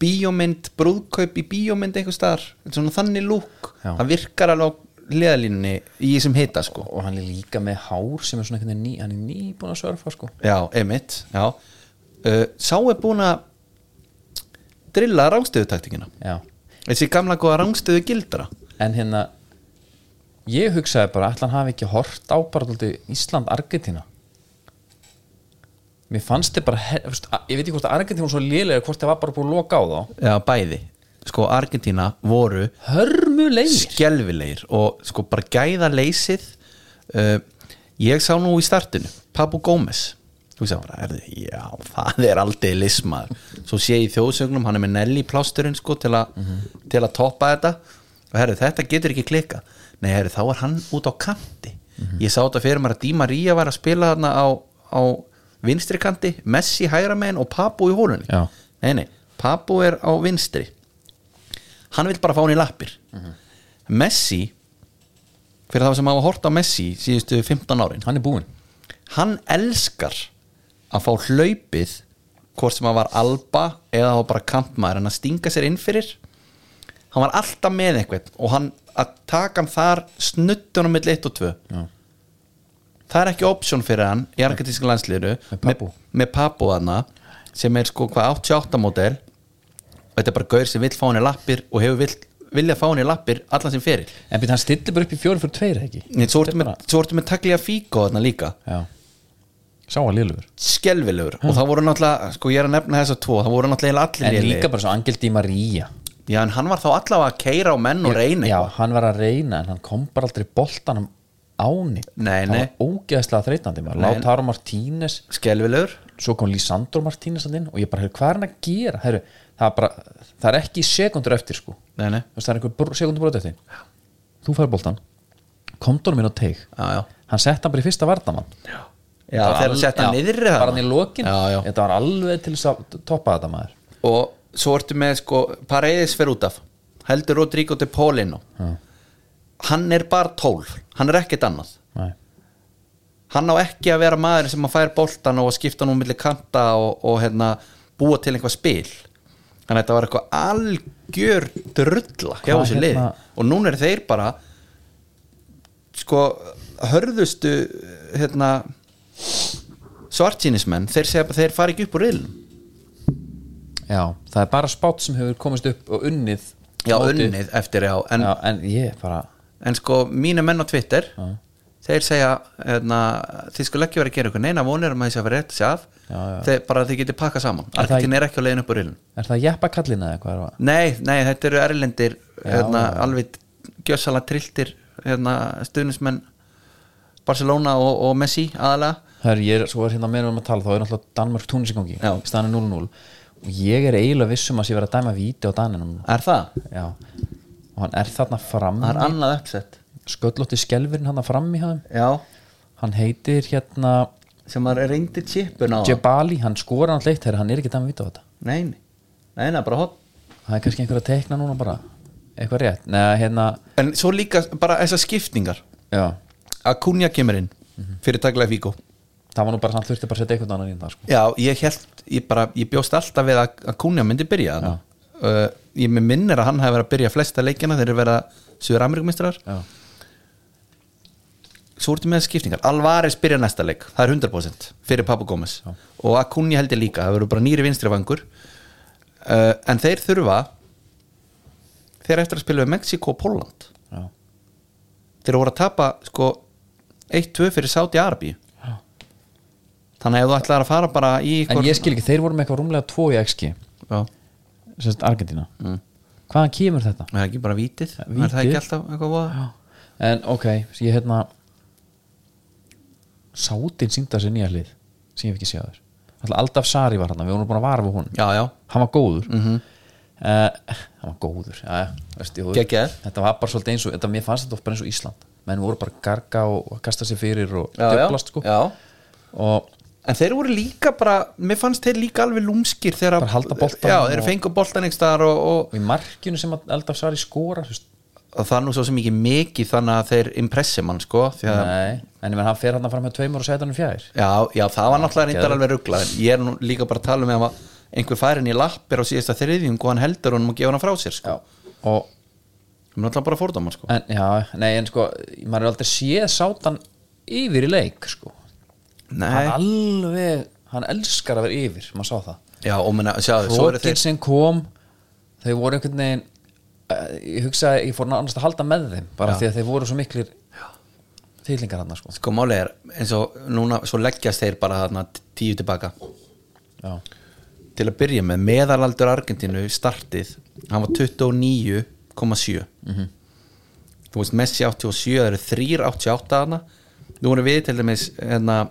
[SPEAKER 2] bíómynd, brúðkaup í bíómynd einhver staðar, svona þannig lúk
[SPEAKER 1] Já.
[SPEAKER 2] það virkar alveg á liðalínunni í þessum hita sko
[SPEAKER 1] og hann er líka með hár sem er svona einhvern veginn ný, hann er nýbúin að sörfa sko
[SPEAKER 2] Já, emitt, já uh, Sá er búin að drilla rángstöðutaktingina
[SPEAKER 1] já.
[SPEAKER 2] þessi gamla góða rángstöðu gildra
[SPEAKER 1] en hérna ég hugsaði bara ætli hann hafi ekki hort á bara tóldi Ísland Argentina mér fannst þið bara he- þú veist, a- ég veit ekki hvort að Argentina var svo lélega hvort það var bara búin að loka á þá
[SPEAKER 2] Já, bæði, sko Argentína voru
[SPEAKER 1] hörmulegir
[SPEAKER 2] skelfilegir og sko bara gæða leysið uh, ég sá nú í startinu Papu Gómez þú sagði bara, er þið, já, það er aldrei lismar svo sé ég í þjóðsögnum, hann er með Nelly plásturinn sko til, a, til að toppa þetta og herri, þetta getur ekki klika nei, herri, þá er hann út á kanti ég sá þetta fyrir mér að Díma Ría var að spila þarna á, á vinstri kanti, Messi hægra megin og Papu í hólunni
[SPEAKER 1] Já.
[SPEAKER 2] nei, nei, Papu er á vinstri hann vil bara fá hann í lappir Messi fyrir þá sem hafa hort á Messi síðustu 15 árin
[SPEAKER 1] hann er búin
[SPEAKER 2] hann elskar að fá hlaupið hvort sem hann var alba eða hann var bara kantmaður en að stinga sér inn fyrir hann var alltaf með einhvern og hann að taka hann þar snuttunum mill 1 og 2
[SPEAKER 1] Já.
[SPEAKER 2] það er ekki option fyrir hann í argentísku landsliðinu
[SPEAKER 1] Með Papu.
[SPEAKER 2] með papu þarna sem er sko hvað 88 mótel og þetta er bara gaur sem vill fá hann í lappir og hefur vill, viljað fá hann í lappir allan sem fyrir
[SPEAKER 1] En býtt hann stillir bara upp í fjóri fyrir tveir ekki
[SPEAKER 2] Nei, svo ertu
[SPEAKER 1] Þetta er
[SPEAKER 2] með, svo ertu með tagli að fíko þarna líka
[SPEAKER 1] Já Sá að liðlugur
[SPEAKER 2] skelvilegur og það voru náttúrulega, sko ég er að nefna þessa tvo það voru náttúrulega eiginlega
[SPEAKER 1] En
[SPEAKER 2] allir lélegir.
[SPEAKER 1] líka bara svo Angel Di Maria
[SPEAKER 2] já en hann var þá allavega að keira á menn og reyna
[SPEAKER 1] Já,
[SPEAKER 2] eitthvað.
[SPEAKER 1] hann var að reyna en hann kom bara aldrei boltanum áni
[SPEAKER 2] Nei,
[SPEAKER 1] Það
[SPEAKER 2] nei.
[SPEAKER 1] var ógeðslega þreytandi maður
[SPEAKER 2] Nei.
[SPEAKER 1] Lautaro Martínez
[SPEAKER 2] skelvilegur
[SPEAKER 1] Svo kom Lisandro Martínez hann inn og ég bara, heyrðu, hvað er hann að gera? Heru, það, er bara, það er ekki sekundur eftir sko
[SPEAKER 2] nei, nei.
[SPEAKER 1] Þú veist, Það er einhver sekundur brot eftir Þú fær boltan Komdónum minn á teig
[SPEAKER 2] Já, já.
[SPEAKER 1] Hann sett hann bara í fyrsta vardamann
[SPEAKER 2] Já, þegar hann setja hann niður
[SPEAKER 1] Bara hann í lokin
[SPEAKER 2] já, já.
[SPEAKER 1] Þetta var alveg til þess að toppa þetta maður
[SPEAKER 2] og svo ertu með sko Paredes fer út af heldur Rodrigo de Paulino
[SPEAKER 1] Já.
[SPEAKER 2] hann er bara 12 hann er ekkert annað
[SPEAKER 1] Nei.
[SPEAKER 2] hann á ekki að vera maður sem að fær boltan og að skipta nú millir kanta og, og hérna, búa til einhvað spil þannig að þetta var eitthvað algjör drulla hjá
[SPEAKER 1] Hvað,
[SPEAKER 2] þessu lið
[SPEAKER 1] hérna-
[SPEAKER 2] og núna er þeir bara sko hörðustu hérna svartsýnismenn, þeir segja bara þeir fara ekki upp úr riðlum
[SPEAKER 1] Já, það er bara spátt sem hefur komist upp og unnið
[SPEAKER 2] já,
[SPEAKER 1] mótið.
[SPEAKER 2] unnið eftir já en,
[SPEAKER 1] já, en ég bara
[SPEAKER 2] en sko, mínu menn á Twitter þeir segja hérna, þið skulle ekki vera að gera ykkur neina vonir um að þessi að vera rétt sig af
[SPEAKER 1] Já, já.
[SPEAKER 2] Þeir, bara þið getið pakkað saman
[SPEAKER 1] Er það
[SPEAKER 2] Argentín er ekki á leiðin upp úr ilm
[SPEAKER 1] Er það jeppa kallina eða hvað er það?
[SPEAKER 2] nei, nei, þetta eru erlendir
[SPEAKER 1] Já,
[SPEAKER 2] hérna,
[SPEAKER 1] já.
[SPEAKER 2] alveg gjössalega trilltir hérna, stuðnismenn Barcelona og, og Messi aðalega
[SPEAKER 1] Hör, ég er, svo er hérna meðan um að tala þá er náttúrulega Danmörk túnis í gangi
[SPEAKER 2] Já.
[SPEAKER 1] staðan er 0-0 og ég er eiginlega viss um að ég verið að dæma víti á Daninum
[SPEAKER 2] er það?
[SPEAKER 1] Já, og hann er þarna fram
[SPEAKER 2] það er annað uppsett
[SPEAKER 1] sköllótti skelfurinn hann fram í hann
[SPEAKER 2] já,
[SPEAKER 1] hann heitir hérna
[SPEAKER 2] sem að reyndi chipun á það
[SPEAKER 1] Jebali, hann skora hann leitt þegar hann er ekki að dæma víti á þetta
[SPEAKER 2] nei, nei, nei, nei, bara hopp
[SPEAKER 1] það er kannski einhver að tekna núna bara eitthvað rétt, neða hérna
[SPEAKER 2] en svo líka bara þessar skiptingar
[SPEAKER 1] já,
[SPEAKER 2] að Kunja kemur inn fyrir taklega fíkó
[SPEAKER 1] það var nú bara, hann þurfti bara að setja eitthvað annar í það sko.
[SPEAKER 2] Já, ég held, ég bara, ég bjóst alltaf við að, að Kunja myndi byrja þarna uh, Ég með minnir að hann hafi verið að byrja flesta leikina þeir eru verið að Suður Amerikumistrar
[SPEAKER 1] Já.
[SPEAKER 2] Svo ertu með skiptingar, Alvarez byrja næsta leik það er 100% fyrir Pabba Gómez og að Kunja held ég líka, það verður bara nýri vinstri vangur uh, En þeir þurfa þeir eftir að spila við Mexiko og Póland
[SPEAKER 1] Já.
[SPEAKER 2] þeir voru að tapa sko 1-2 fyrir Saudi Arabi Þannig að ef þú ætlar að fara bara í
[SPEAKER 1] en ég skil ekki, þeir voru með eitthvað rúmlega 2 í XG
[SPEAKER 2] Já.
[SPEAKER 1] sérst Argentina
[SPEAKER 2] Mm.
[SPEAKER 1] hvaðan kemur þetta?
[SPEAKER 2] Er það ekki bara vítið?
[SPEAKER 1] Vítið.
[SPEAKER 2] Er það ekki alltaf eitthvað voða?
[SPEAKER 1] en ok, svo ég hérna Sátin sínda sér nýja hlið sem ég hef ekki séð þér Alltaf Aldaf Sari var hann, við vorum búin að vara við hún
[SPEAKER 2] Já, já,
[SPEAKER 1] hann var góður mm
[SPEAKER 2] Mhm.
[SPEAKER 1] -hmm. hann var góður ja, veist, ég, þú-
[SPEAKER 2] Geggjaður.
[SPEAKER 1] þetta var bara svolítið eins og þetta, mér fannst þetta oft bara eins og Ísland menn voru bara að garga og að kasta sér fyrir og
[SPEAKER 2] já, já.
[SPEAKER 1] döblast sko
[SPEAKER 2] já.
[SPEAKER 1] og
[SPEAKER 2] En þeir voru líka bara, mér fannst þeir líka alveg lúmskir þegar
[SPEAKER 1] Bara halda boltanum
[SPEAKER 2] Já, þeir
[SPEAKER 1] og-
[SPEAKER 2] fengu boltan einhvers staðar og, og,
[SPEAKER 1] og í markjunu sem að Eldaf Sari skora þú veist,
[SPEAKER 2] og það er nú svo sem ekki mikið þannig að þeir impressi mann sko því að,
[SPEAKER 1] nei, en ég menn hann fer hann fram með tveimur og setja hann í fjær
[SPEAKER 2] já, já, það var náttúrulega reyndar
[SPEAKER 1] geðveikt.
[SPEAKER 2] alveg ruggla Ég er nú líka bara að tala um ef að einhver færin í lappir á síðasta þriðjung og hann heldur honum og gefur hann frá sér sko
[SPEAKER 1] og,
[SPEAKER 2] Það er náttúrulega bara fórdámar sko
[SPEAKER 1] en, já, nei, en sko maður er aldrei séð sátan yfir í leik sko, hann
[SPEAKER 2] Nei,
[SPEAKER 1] alveg hann elskar að vera yfir, maður sá það
[SPEAKER 2] já, og menna, sjáðu, svo eru
[SPEAKER 1] Hrókin
[SPEAKER 2] þeir
[SPEAKER 1] sem kom þau voru einhvern veginn eh, ég hugsaði, ég fór nánast að halda með þeim bara því að þeir voru svo miklir þýlingar hann sko
[SPEAKER 2] Sko máli er, eins og núna, svo leggjast þeir bara þarna tíu tilbaka
[SPEAKER 1] já,
[SPEAKER 2] til að byrja með meðalaldur Argentínu startið, hann var 29,7 þú veist Messi 87 það eru 3,88 hana nú erum við til dæmis hérna,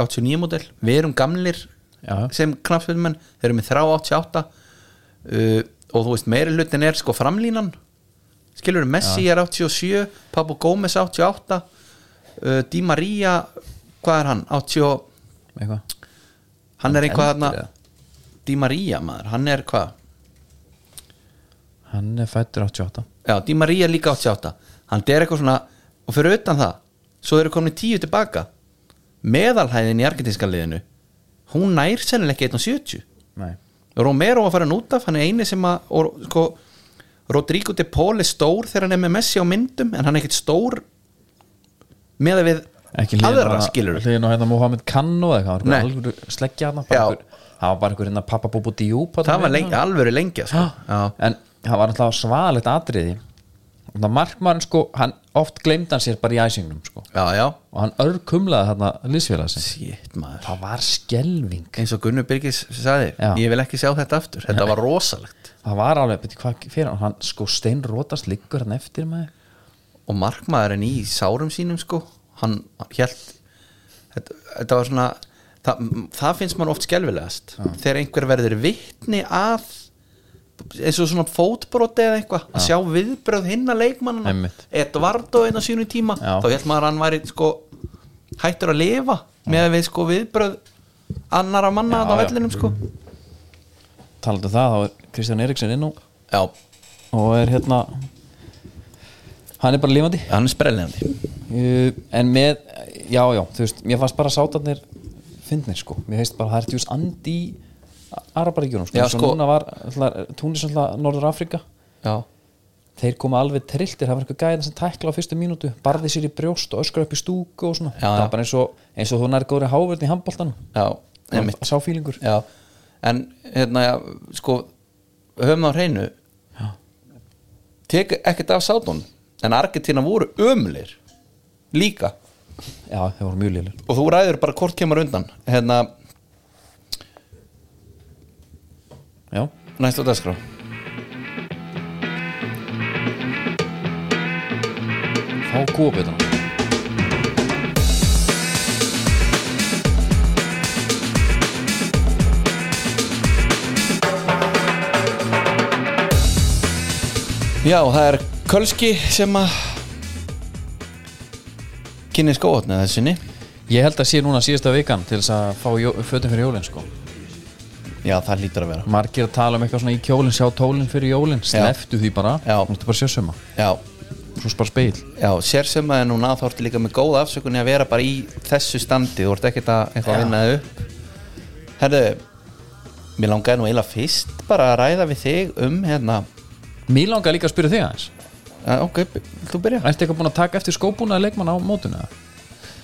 [SPEAKER 2] 89 model, við erum gamlir
[SPEAKER 1] Já.
[SPEAKER 2] sem knapsfjöldmenn þeir eru með 3,88 uh, og þú veist meiri hlutin er sko framlínan skilur Messi er 87 Papu Gómez 88 uh, Di Maria hvað er hann? 80
[SPEAKER 1] eitthvað
[SPEAKER 2] hann er einhvað
[SPEAKER 1] eldri,
[SPEAKER 2] þarna
[SPEAKER 1] eða?
[SPEAKER 2] Di Maria maður, hann er hvað
[SPEAKER 1] hann er fættur 88
[SPEAKER 2] já, Di Maria er líka 88 hann er eitthvað svona, og fyrir utan það svo eru komin tíu tilbaka meðalhæðin í argentinska liðinu hún nær sennilega ekki 1.70
[SPEAKER 1] Nei.
[SPEAKER 2] Romero var farin út af, hann er eini sem að og, sko, Rodrigo de Paul er stór þegar hann er með Messi á myndum en hann er ekkit stór með að við
[SPEAKER 1] ekki hliðin
[SPEAKER 2] aðra
[SPEAKER 1] á-
[SPEAKER 2] skilur
[SPEAKER 1] hliðin á hérna Mohamed Kanno eða eitthvað, hann var
[SPEAKER 2] Nei.
[SPEAKER 1] bara alveg sleggja hann
[SPEAKER 2] Já.
[SPEAKER 1] það var bara einhver hérna pappa búbú djúp
[SPEAKER 2] það var lengi, alvöru lengja sko. Já.
[SPEAKER 1] en það var alltaf svaðalegt atriði og það markmann sko hann oft gleymd hann sér bara í æsingnum sko.
[SPEAKER 2] já, já,
[SPEAKER 1] og hann örkumlaði þarna liðsfélag sinn
[SPEAKER 2] shit maður
[SPEAKER 1] það var skelving
[SPEAKER 2] eins og Gunnar Birgis sagði
[SPEAKER 1] Já.
[SPEAKER 2] ég vil ekki sjá þetta aftur, þetta var rosalegt
[SPEAKER 1] það var alveg, betur hvað fyrir hann hann sko steinrótast liggur hann eftir með
[SPEAKER 2] og markmaðurinn í sárum sínum sko, hann held þetta, þetta var svona það, það finnst mann oft skelfilegast þegar einhver verður vitni að eins og svona fótbroti eða eitthvað, að sjá viðbröð hinna leikmannana,
[SPEAKER 1] Einmitt.
[SPEAKER 2] Edvardo einu sínu tíma,
[SPEAKER 1] Já.
[SPEAKER 2] þá held maður að hann væri sko hættur að lifa með að við sko viðbröð annara manna
[SPEAKER 1] Já,
[SPEAKER 2] að á
[SPEAKER 1] já.
[SPEAKER 2] vellinum sko
[SPEAKER 1] talandi um það, þá er Kristján Eriksson inn og,
[SPEAKER 2] já,
[SPEAKER 1] og er hérna hann er bara lífandi
[SPEAKER 2] hann er sprelnefni
[SPEAKER 1] Uh, en með, já, já, þú veist mér fannst bara sátarnir fyndnir sko mér heist bara, það er djús andi í Arabaríkjunum sko,
[SPEAKER 2] Já,
[SPEAKER 1] Eins og
[SPEAKER 2] sko.
[SPEAKER 1] núna var Túnis alltaf Norður Afrika
[SPEAKER 2] já,
[SPEAKER 1] þeir koma alveg trilltir, það var eitthvað gæðin sem tækla á fyrstu mínútu, barði sér í brjóst og öskra upp í stúku og svona
[SPEAKER 2] Já,
[SPEAKER 1] það
[SPEAKER 2] já.
[SPEAKER 1] var bara eins og, eins og þú nær góðri hávörn í handbóltanum
[SPEAKER 2] já, einmitt
[SPEAKER 1] sá fílingur
[SPEAKER 2] Já, en hérna, já, sko höfum það á hreinu tek ekkert af sátun en Argentina voru ömlir líka
[SPEAKER 1] já, þeir voru mjög lélir
[SPEAKER 2] og þú ræður bara hvort kemur undan hérna,
[SPEAKER 1] já,
[SPEAKER 2] næst á dagskrá
[SPEAKER 1] þá kúabjötan
[SPEAKER 2] Já, það er Kölski sem að kynni skóhotna þessinni
[SPEAKER 1] ég held að sé núna síðasta vikan til þess að fá jó- fötin fyrir jólin sko
[SPEAKER 2] Já, það lítur að vera
[SPEAKER 1] margir að tala um eitthvað svona í kjólinn sjá tólinn fyrir jólinn, sleftu því bara
[SPEAKER 2] Já.
[SPEAKER 1] þú ertu bara sjössuma,
[SPEAKER 2] Já,
[SPEAKER 1] svo spara speil
[SPEAKER 2] já sér sem að núna þá ertu líka með góða afsökunni að vera bara í þessu standi þú ert ekkert að eitthvað að vinna þig upp Herðu Mér langaði nú eiginlega fyrst bara að ræða við þig um hérna
[SPEAKER 1] Mér langar líka að spyrja þig aðeins
[SPEAKER 2] eh, Ok, b- þú byrja
[SPEAKER 1] Ertu eitthvað búin að taka eftir skóbúna að leikmann á mótuna?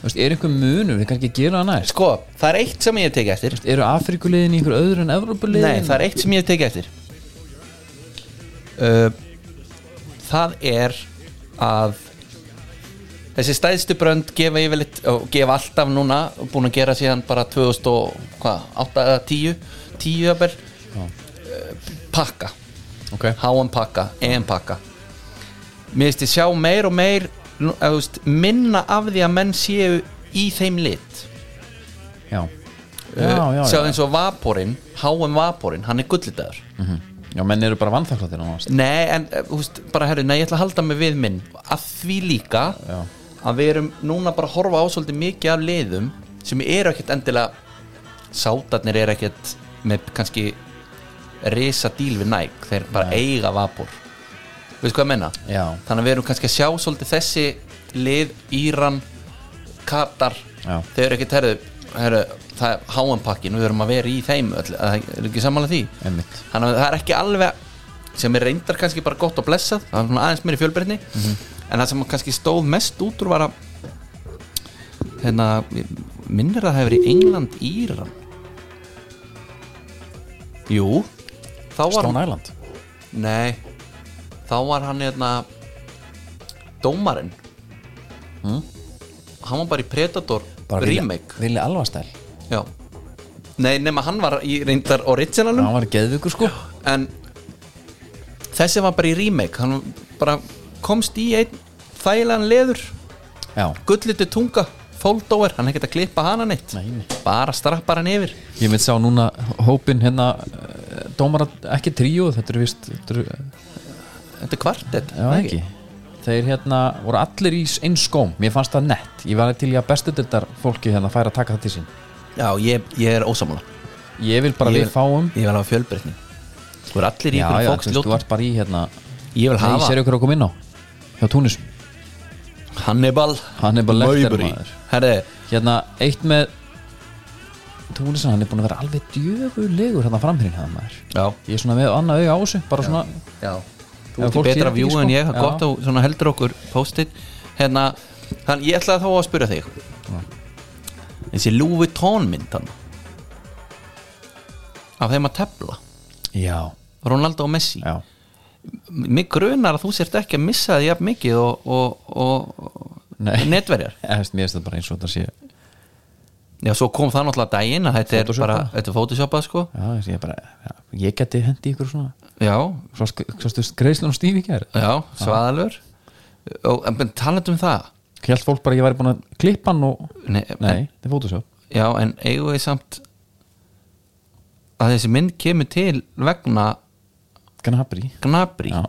[SPEAKER 1] Veist, er einhver munur, þið kannski gera það næst
[SPEAKER 2] Sko, það er eitt sem ég hef tekið eftir
[SPEAKER 1] Eru Afrikuliðin í einhver öðru en Evrópuliðin?
[SPEAKER 2] Nei, það er eitt sem ég hef tekið eftir uh, Það er að þessi stæðstu brönd gefa yfirleitt og gefa alltaf núna og búin að gera síðan bara 2000 og hvað, 8 eða 10 10 jafnvel uh, pakka,
[SPEAKER 1] Ok,
[SPEAKER 2] HM pakka EM pakka Mér veist ég sjá meir og meir nú, eða, þú veist, minna af því að menn séu í þeim lit
[SPEAKER 1] já Já, já,
[SPEAKER 2] Eh, sjá
[SPEAKER 1] já,
[SPEAKER 2] eins og vaporinn, HM vaporinn hann er gullitaður
[SPEAKER 1] Mhm. já menn eru bara vannþaklatir nánast
[SPEAKER 2] Nei, en eh, þú veist, bara herri, nei, ég ætla að halda mig við minn að því líka
[SPEAKER 1] Já.
[SPEAKER 2] að við erum núna bara að horfa á svolítið mikið af liðum sem eru ekkert endilega sátarnir eru ekkert með kannski risa díl við næk, þeir bara eiga vapor veist hvað ég menna?
[SPEAKER 1] Já.
[SPEAKER 2] þannig að við erum kannski að sjá svolítið þessi lið, Íran Katar,
[SPEAKER 1] Já.
[SPEAKER 2] þau eru ekkert herri, herri, það er háanpakkin við erum að vera í þeim öll, er það er ekki sammála því
[SPEAKER 1] Einmitt
[SPEAKER 2] þannig að það er ekki alveg sem er reyndar kannski bara gott og blessað það er svona aðeins meiri fjölbreytni en það sem kannski stóð mest út úr var að hérna ég- minnir að það hefur verið England Íran Jú þá var
[SPEAKER 1] Stone Island
[SPEAKER 2] Nei þá var hann hérna dómarinn hann var bara í Predator remake
[SPEAKER 1] Vili Alvastæl
[SPEAKER 2] Já Nei, nema hann var í reyndar originalum
[SPEAKER 1] Hann var geðvikur sko
[SPEAKER 2] en þessi var bara í remake hann bara komst í einn þægilegan leður
[SPEAKER 1] Já
[SPEAKER 2] gullitu tunga, foldóer hann er ekkert að klippa hana neitt
[SPEAKER 1] Nei, nei.
[SPEAKER 2] bara strappar hann yfir
[SPEAKER 1] Ég mynd sjá núna hópin hérna eh, Dómara, ekki tríu, þetta eru vist Þetta eru
[SPEAKER 2] þetta er kvartett
[SPEAKER 1] Já, ekki Þeir hérna voru allir í eins skóm Mér fannst það nett Ég var til í að bestu dildar fólki hérna færa að taka það til sín
[SPEAKER 2] já ég, ég er ósamlega
[SPEAKER 1] Ég vil bara
[SPEAKER 2] Ég-
[SPEAKER 1] við fáum
[SPEAKER 2] ég vil hafa fjölbreytni þú er allir í
[SPEAKER 1] Já,
[SPEAKER 2] ykkur
[SPEAKER 1] já, þú veist,
[SPEAKER 2] fókst
[SPEAKER 1] þú
[SPEAKER 2] ljótt
[SPEAKER 1] ert bara í hérna
[SPEAKER 2] ég vil
[SPEAKER 1] Nei,
[SPEAKER 2] hafa
[SPEAKER 1] sér ykkur að koma inn á Hjá Túnis
[SPEAKER 2] Hannibal
[SPEAKER 1] Hannibal Lecter,
[SPEAKER 2] Mowbray.
[SPEAKER 1] maður.
[SPEAKER 2] herri
[SPEAKER 1] Hérna, eitt með Túnisson, hann er búin að vera alveg djöfulegur hérna framhyrinn hann maður
[SPEAKER 2] Já.
[SPEAKER 1] ég er svona með annað auga á þessu bara svona,
[SPEAKER 2] Já,
[SPEAKER 1] Ef
[SPEAKER 2] þú ert í
[SPEAKER 1] fólk sér
[SPEAKER 2] betra
[SPEAKER 1] ekki,
[SPEAKER 2] vjú
[SPEAKER 1] sko.
[SPEAKER 2] en ég það
[SPEAKER 1] Já.
[SPEAKER 2] er gott að þú svona heldur okkur post-it hérna, hann, ég ætlaði þá að spyrja þig þessi Louis Vuitton mynd hann af þeim að tefla
[SPEAKER 1] já,
[SPEAKER 2] Ronaldo og Messi
[SPEAKER 1] já
[SPEAKER 2] mig grunar að þú sért ekki að missa því jafn mikið og, og, og
[SPEAKER 1] Nei.
[SPEAKER 2] netverjar
[SPEAKER 1] Ég veist, mér finnst þetta bara eins og þetta sé já,
[SPEAKER 2] já, svo kom það náttúrulega daginn að þetta er
[SPEAKER 1] Photoshoppað.
[SPEAKER 2] bara, þetta er photoshoppað sko
[SPEAKER 1] þú veist, ég, bara, já, ég geti hendi ykkur svona
[SPEAKER 2] já,
[SPEAKER 1] svo, sk- svo stuðst greiðslun og stíf í kær
[SPEAKER 2] já, svaðalur og en talandi um það
[SPEAKER 1] held fólk bara að ég væri búin að klippa hann og
[SPEAKER 2] Nei,
[SPEAKER 1] nei, þetta er fótusjóð
[SPEAKER 2] Já, en eigum við samt að þessi mynd kemur til vegna
[SPEAKER 1] kannan hafa í
[SPEAKER 2] Gnabri
[SPEAKER 1] Já.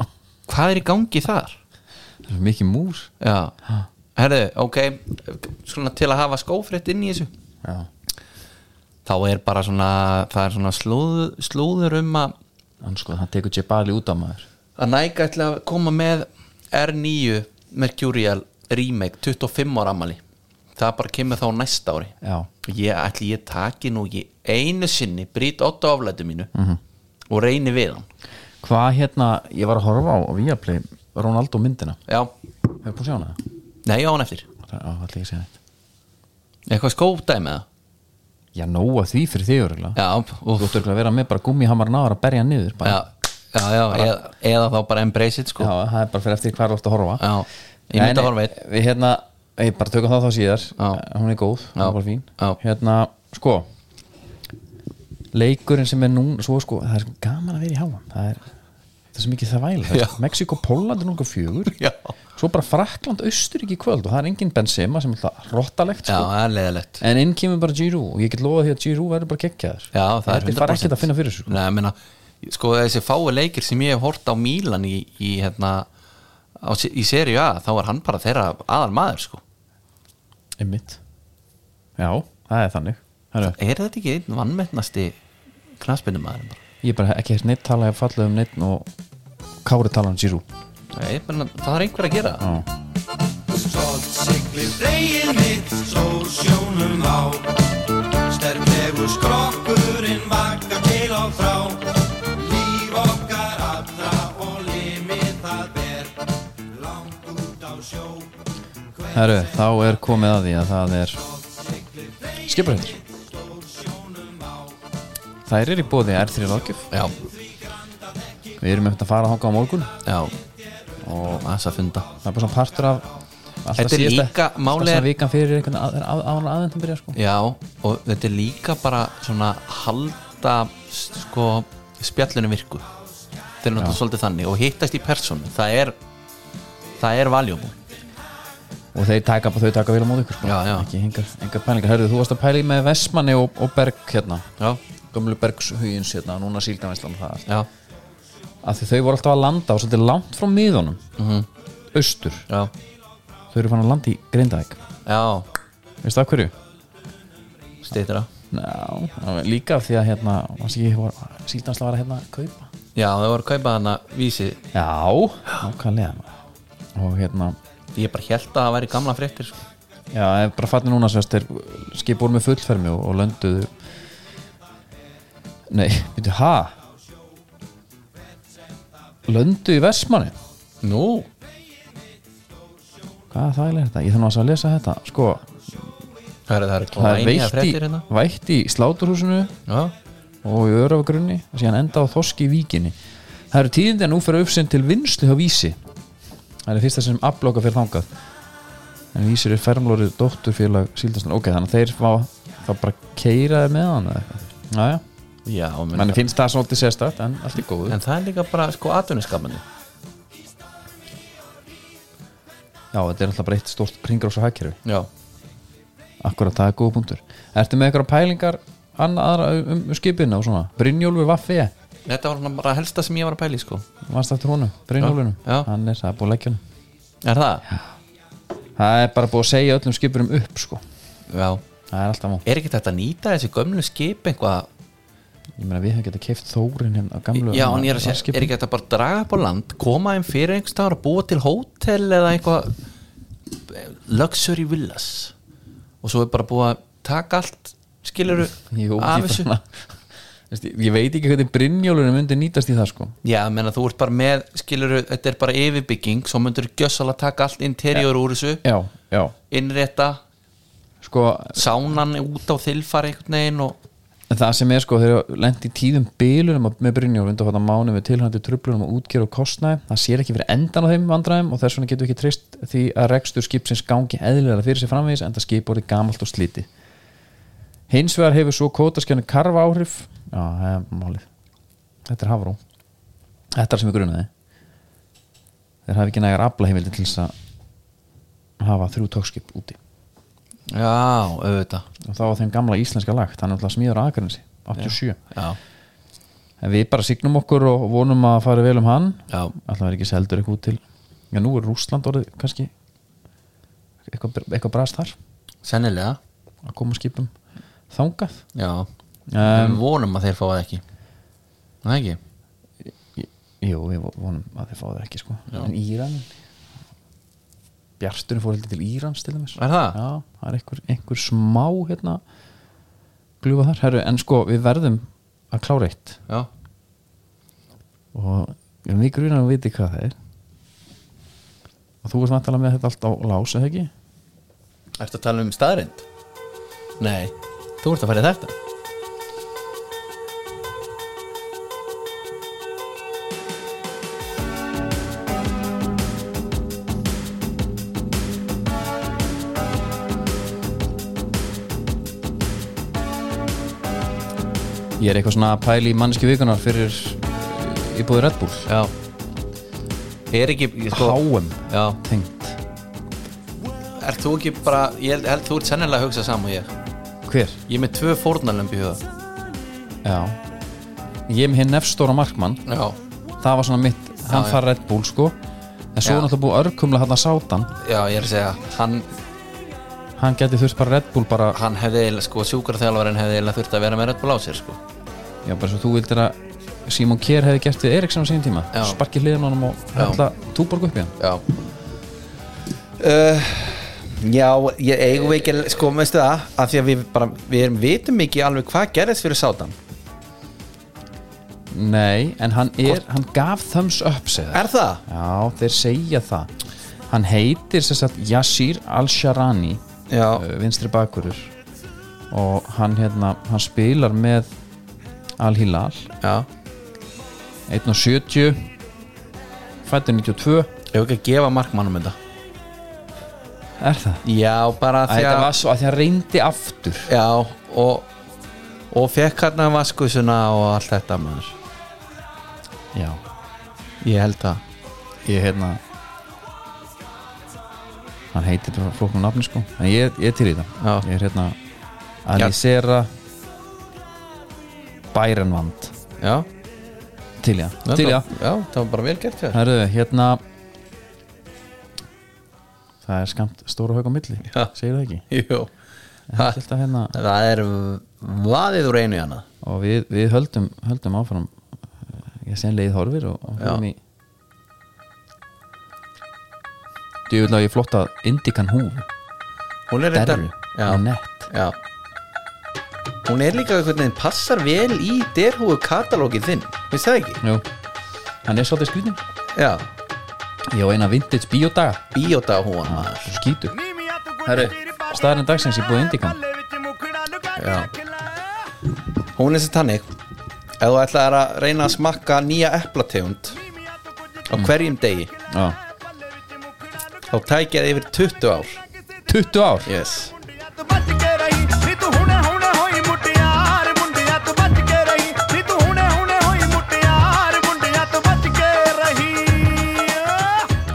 [SPEAKER 2] Hvað er í gangi þar?
[SPEAKER 1] það er svo mikið mús
[SPEAKER 2] Já, herðu, ok svona til að hafa skófrétt inn í þessu
[SPEAKER 1] já,
[SPEAKER 2] þá er bara svona, það er svona slúður, slúður um að
[SPEAKER 1] hann sko, hann tekur Jebali út á maður
[SPEAKER 2] að næga ætla að koma með R9 Mercurial remake 25 ára ammali það bara kemur þá næsta ári
[SPEAKER 1] já,
[SPEAKER 2] ég ætli ég taki nú ég einu sinni brýt 8 aflætu mínu og reyni við hann
[SPEAKER 1] hvað hérna, ég var að horfa á á Viaplay, Ronaldo myndina
[SPEAKER 2] já,
[SPEAKER 1] hefur búin að sjá hana það?
[SPEAKER 2] nei á hann eftir
[SPEAKER 1] það á, ætla ég að segja þetta
[SPEAKER 2] eitthvað skópdæmi með
[SPEAKER 1] Já, nóa því fyrir þig örgulega
[SPEAKER 2] það já,
[SPEAKER 1] Þú
[SPEAKER 2] úf,
[SPEAKER 1] ættu örugglega að vera með bara gummihamar náður að berja hann niður bara.
[SPEAKER 2] já, já, já eða, eða þá bara embrace it sko já,
[SPEAKER 1] það er bara fyrir eftir hvað þú ætti að horfa
[SPEAKER 2] ég myndi
[SPEAKER 1] Nei,
[SPEAKER 2] að horfa eitt
[SPEAKER 1] Við hérna, ég bara tökum það þá síðar
[SPEAKER 2] Já.
[SPEAKER 1] Hún er góð, hún
[SPEAKER 2] Já.
[SPEAKER 1] er bara fín
[SPEAKER 2] Já.
[SPEAKER 1] Hérna, sko Leikurinn sem er núna Svo sko, það er svo gaman að vera í háa Það er, það er sem ekki það væli
[SPEAKER 2] Já.
[SPEAKER 1] Mexiko, Póland er núna fjögur
[SPEAKER 2] já,
[SPEAKER 1] Svo bara Frakland, Austuríki kvöld Og það er engin Benzema sem er alltaf rottalegt sko.
[SPEAKER 2] það er leðalegt
[SPEAKER 1] En inn kemur bara Giroud Og ég get lofað því að Giroud verður bara geggjaður
[SPEAKER 2] já, það er
[SPEAKER 1] Þetta
[SPEAKER 2] 100%
[SPEAKER 1] er bara ekkert að finna fyrir þessu sko.
[SPEAKER 2] Nei, ég meina, sko þessi fáu leikir sem ég hef hort á Mílan í, í hérna á, se- í serið A, þá er hann bara þeirra aðal maður sko
[SPEAKER 1] Einmitt Já, það er þannig Hæru,
[SPEAKER 2] er þetta ekki einn vannmettnasti knaspinu maður bara?
[SPEAKER 1] Ég bara ekki hefst neitt tala ég falla um neitt og Kári tala um Giroud
[SPEAKER 2] Nei, menna, það er einhver að gera það
[SPEAKER 1] Já.
[SPEAKER 5] Stolt siglir degið mitt svo sjónum á Sterklegur skrokkurinn vakar til og frá Líf okkar allra og limið það ber Langt út á sjó
[SPEAKER 1] Herru, þá er komið að því að það er Skiparættur Þær eru í bóði R3 Rákjöf
[SPEAKER 2] Já,
[SPEAKER 1] Við erum eftir að fara að hanga á morgun
[SPEAKER 2] já og þess að funda
[SPEAKER 1] Það er bara svona partur af alltaf
[SPEAKER 2] Þetta er
[SPEAKER 1] síðasta-
[SPEAKER 2] líka-
[SPEAKER 1] alltaf
[SPEAKER 2] málið
[SPEAKER 1] svona
[SPEAKER 2] er-
[SPEAKER 1] vikan fyrir einhvern að- að- áður en aðvendan byrja sko
[SPEAKER 2] Já, og þetta er líka bara svona halda sko spjallinu virku þetta er náttúrulega svolítið þannig og hittast í persónu það er það er valjum
[SPEAKER 1] Og þeir taka, þau taka vel á móti ykkur sko
[SPEAKER 2] Já, já.
[SPEAKER 1] Ekki engar, engar pælingar Herru, þú varst að pæli með Vestmanni og, og Berg hérna
[SPEAKER 2] Já,
[SPEAKER 1] gömlu bergshugins hérna, núna síldavænslan og það allt.
[SPEAKER 2] já,
[SPEAKER 1] af því þau voru alltaf að landa og svolítið langt frá miðunum austur,
[SPEAKER 2] já
[SPEAKER 1] þau eru fann að landa í Grindavík,
[SPEAKER 2] Já,
[SPEAKER 1] veistu af hverju?
[SPEAKER 2] stýttir það
[SPEAKER 1] Ná, ná, líka af því að hérna síldavænslan var að hérna kaupa
[SPEAKER 2] Já, það voru að kaupa hana vísi
[SPEAKER 1] já, nákvæmlega og hérna,
[SPEAKER 2] Ég bara held að það væri gamla fréttir sko.
[SPEAKER 1] já, það er bara fattin núna sérst, þeir skipur með fullfermi og, og lönduðu nei, veitu, ha? löndu í Vestmanni
[SPEAKER 2] Nú,
[SPEAKER 1] hvað það er þetta? Ég þarf náttúrulega að lesa þetta sko,
[SPEAKER 2] það er, það er
[SPEAKER 1] það er
[SPEAKER 2] glænýjar
[SPEAKER 1] veitt í,
[SPEAKER 2] fréttir hérna
[SPEAKER 1] vætt í sláturhúsinu
[SPEAKER 2] Já,
[SPEAKER 1] og í örafagrunni og síðan enda á þoski í víkinni það eru tíðindi að nú fyrir uppsinn til vinslu hjá vísi það er fyrsta sem afloka fyrir þangað en vísir er fermlórið dótturfélag síldastan ok, þannig að þeir fá þá bara keiraði með hann eða eitthvað Næja,
[SPEAKER 2] já menn,
[SPEAKER 1] manni finnst það svolítið sérstætt en allt í góðu
[SPEAKER 2] En það er líka bara sko atvinniskapandi
[SPEAKER 1] Já, þetta er alltaf bara eitt stórt ringrása hagkerfi
[SPEAKER 2] Já,
[SPEAKER 1] Akkurat, það er góða punktur Ertu með eitthvað pælingar annaðra um, um skipinu og svona? Brynjólfur Vaffi
[SPEAKER 2] þetta var svona bara helsta sem ég var að pæli sko
[SPEAKER 1] Varst eftir honum, Brynjólfunum
[SPEAKER 2] Já, já.
[SPEAKER 1] Hann er það er búið að leggja hann
[SPEAKER 2] Er það?
[SPEAKER 1] Það er bara búið að segja öllum skipurum upp sko.
[SPEAKER 2] Já
[SPEAKER 1] Það er alltaf mán
[SPEAKER 2] Er ekki þetta að nýta þessi gömlu skip einhvað
[SPEAKER 1] Ég meina við hefum getað keift þórin hérna á gamlu
[SPEAKER 2] Já, en ég er að segja, er ekki þetta bara að draga upp á land koma þeim fyrir einhvers staðar að búa til hótel eða eitthvað luxury villas og svo er bara búið að taka allt
[SPEAKER 3] skilur
[SPEAKER 1] Jú,
[SPEAKER 3] af
[SPEAKER 1] ég,
[SPEAKER 3] þessu
[SPEAKER 1] bara, Veist, ég- ég veit ekki hvernig brinnjólunum myndi nýtast í það sko
[SPEAKER 3] já, ég meina þú ert bara með skilur þetta er bara yfirbygging, svo myndur gjössalega taka allt interior úr þessu
[SPEAKER 1] já, já,
[SPEAKER 3] innrétta,
[SPEAKER 1] sko
[SPEAKER 3] sánan út á þilfari einhvern veginn og
[SPEAKER 1] það sem er sko þegar lendi í tíðum bylunum með brinnjólun undir hvort að mánu með tilhæntu tröflunum og útgerð og kostnæði það sér ekki fyrir endan á þeim vandræðum og þess vegna getur við ekki treyst því að rekstur skipsins gangi eðlilega fyrir sér framvegis en það skip orðið gamalt og slíti hins vegar hefur svo kótaskjörnu karfa áhrif já, það er málið þetta er hafró þetta er sem ég grunaði þeir hafi ekki nægar aflaheimildi til þess að hafa þrjú tókskip úti
[SPEAKER 3] já, auðvitað
[SPEAKER 1] og þá var þeim gamla íslenska lagt hann er alltaf smíður á Akranesi 87
[SPEAKER 3] já,
[SPEAKER 1] en við bara signum okkur og vonum að fara vel um hann
[SPEAKER 3] já,
[SPEAKER 1] alltaf er ekki seldur eitthvað út til já nú er Rússland orðið kannski eitthvað, eitthvað brast þar
[SPEAKER 3] sennilega
[SPEAKER 1] að koma skipum þangað
[SPEAKER 3] já,
[SPEAKER 1] um,
[SPEAKER 3] um, vonum að þeir fá það ekki það ekki
[SPEAKER 1] jú við vonum að þeir fá það ekki sko
[SPEAKER 3] Já.
[SPEAKER 1] en Íran Bjarturinn fór heldur til Írans til dæmis
[SPEAKER 3] Er það?
[SPEAKER 1] Já, það er einhver, einhver smá hérna glufa þar, herru, en sko við verðum að klára eitt
[SPEAKER 3] já,
[SPEAKER 1] og erum við grunar að viti hvað það er og þú ert vantalega með þetta allt á lás eða ekki?
[SPEAKER 3] ertu að tala um staðrind? nei, þú ert að fara í þetta
[SPEAKER 1] Ég er eitthvað svona að pæli í manneski vikunar fyrir eh, íbúið Red Bull
[SPEAKER 3] já er ekki, ég sko
[SPEAKER 1] HM
[SPEAKER 3] já,
[SPEAKER 1] tengt
[SPEAKER 3] Er þú ekki bara, ég held, held þú ert sennilega að hugsa saman og ég
[SPEAKER 1] Hver?
[SPEAKER 3] Ég er með tvö fórnarlömb í huga
[SPEAKER 1] Já Ég er með hinn nefnstóra markmann
[SPEAKER 3] Já,
[SPEAKER 1] það var svona mitt, hann
[SPEAKER 3] já.
[SPEAKER 1] far Red Bull sko en svo
[SPEAKER 3] Já.
[SPEAKER 1] er náttúrulega búið örkumla hann að sátan
[SPEAKER 3] já ég er að segja Hann,
[SPEAKER 1] hann geti þurft bara Red Bull bara
[SPEAKER 3] hann hefði eiginlega, sko, sjúkarþjálfarinn hefði eiginlega þurft að vera með Red Bull á sér, sko
[SPEAKER 1] já bara svo þú vildir að Simon Kjær hefði gert við Eriksson á sín tíma
[SPEAKER 3] Já.
[SPEAKER 1] sparki hliðin honum og
[SPEAKER 3] Já.
[SPEAKER 1] hella túborg upp í hann
[SPEAKER 3] Já
[SPEAKER 2] Uh, Já, ég eigum við ekki sko, veistu það, af því að við bara við erum vitum ekki alveg hvað gerðist fyrir sátan
[SPEAKER 1] Nei, en hann er, hann gaf thumbs up segja
[SPEAKER 2] Er það?
[SPEAKER 1] Já, þeir segja það Hann heitir sem sagt Yasir Al-Sharani
[SPEAKER 2] Já,
[SPEAKER 1] uh, vinstri bakurur og hann hérna, hann spilar með Al-Hilal
[SPEAKER 2] já
[SPEAKER 1] 1.70 fættur 92
[SPEAKER 2] Ég hef ekki að gefa markmannum þetta
[SPEAKER 1] Er það?
[SPEAKER 2] Já, bara af
[SPEAKER 1] Æ,
[SPEAKER 2] því
[SPEAKER 1] þetta
[SPEAKER 2] að
[SPEAKER 1] var svo að því hann reyndi aftur
[SPEAKER 2] Já, og og fekk hann að vaskusuna og allt þetta maður
[SPEAKER 1] Já,
[SPEAKER 2] Ég held það
[SPEAKER 1] ég hérna hann heitir bara flóknum nafni sko en ég, ég er til í það
[SPEAKER 2] Já.
[SPEAKER 1] ég er hérna Alisera Bærenvand
[SPEAKER 2] Já,
[SPEAKER 1] til ég
[SPEAKER 2] þetta-
[SPEAKER 1] til ég
[SPEAKER 2] Já, það var bara vel gert hjá þér.
[SPEAKER 1] Herru, hérna það er skamt stóra haug á milli
[SPEAKER 2] Já.
[SPEAKER 1] segir það ekki
[SPEAKER 2] Jú,
[SPEAKER 1] Ég held alltaf hérna,
[SPEAKER 2] það er vaðið úr einu í hana
[SPEAKER 1] og við, við höldum, höldum áfram ég sé leið horfir og, og
[SPEAKER 2] Já.
[SPEAKER 1] höfum í djúvill að ég flotta Indikan húfu
[SPEAKER 2] Hún er reyndar-
[SPEAKER 1] derru,
[SPEAKER 2] Já,
[SPEAKER 1] nett
[SPEAKER 2] já Hún er líka einhvern veginn passar vel í derhúu katalógin þinn, finnst það ekki?
[SPEAKER 1] Jú. hann er svolítið skrýtin
[SPEAKER 2] Já,
[SPEAKER 1] ég á eina vintage bíódaga
[SPEAKER 2] bíóta húan maður
[SPEAKER 1] svo skýtu
[SPEAKER 6] Herru, staðarinn dagsins í búið
[SPEAKER 1] Indikan.
[SPEAKER 6] Indikan
[SPEAKER 2] Já. Hún er sér tannig ef þú ætlaðir að reyna að smakka nýja eplategund á hverjum degi
[SPEAKER 1] Já.
[SPEAKER 2] þá tækja það yfir 20 ár
[SPEAKER 1] 20 ár
[SPEAKER 2] yes.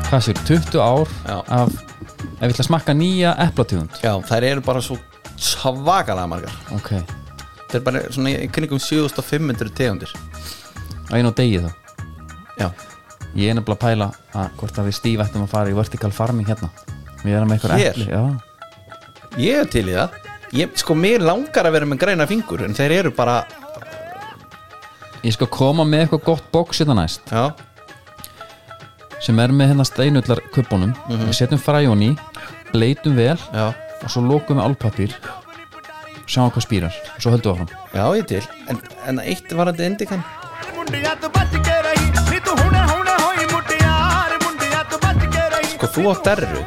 [SPEAKER 1] hvað sér, 20 ár
[SPEAKER 2] Já.
[SPEAKER 1] af, ef við ætla að smakka nýja eplatíðund
[SPEAKER 2] Já, þær eru bara svo svakalega margar
[SPEAKER 1] ok,
[SPEAKER 2] það er bara svona í kringum 7500 tegundir
[SPEAKER 1] að einu á degi þá
[SPEAKER 2] Já,
[SPEAKER 1] ég er nefnilega að pæla að hvort að við stíf ættum að fara í vertical farming hérna við erum með eitthvað
[SPEAKER 2] Hér?
[SPEAKER 1] epli já.
[SPEAKER 2] ég er til í það ég, sko, mér langar að vera með græna fingur en þeir eru bara
[SPEAKER 1] ég skal koma með eitthvað gott bóks hérna næst
[SPEAKER 2] Já,
[SPEAKER 1] sem er með hérna steinullar kubunum
[SPEAKER 2] Mhm.
[SPEAKER 1] við setjum fræjón í, bleitum vel
[SPEAKER 2] já,
[SPEAKER 1] og svo lókum við álpapír sjáum hvað spýrar og svo höldum við áfram
[SPEAKER 2] Já, ég til En, en eitt var þetta endikann
[SPEAKER 6] ਮੁੰਡਿਆ ਤੋਂ ਬਚ ਕੇ ਰਹੀ ਨੀ ਤੂੰ ਹੁਣੇ ਹੁਣੇ ਹੋਈ ਮੁਟਿਆਰ ਮੁੰਡਿਆ ਤੋਂ ਬਚ ਕੇ ਰਹੀ
[SPEAKER 2] Sko, þú átt derru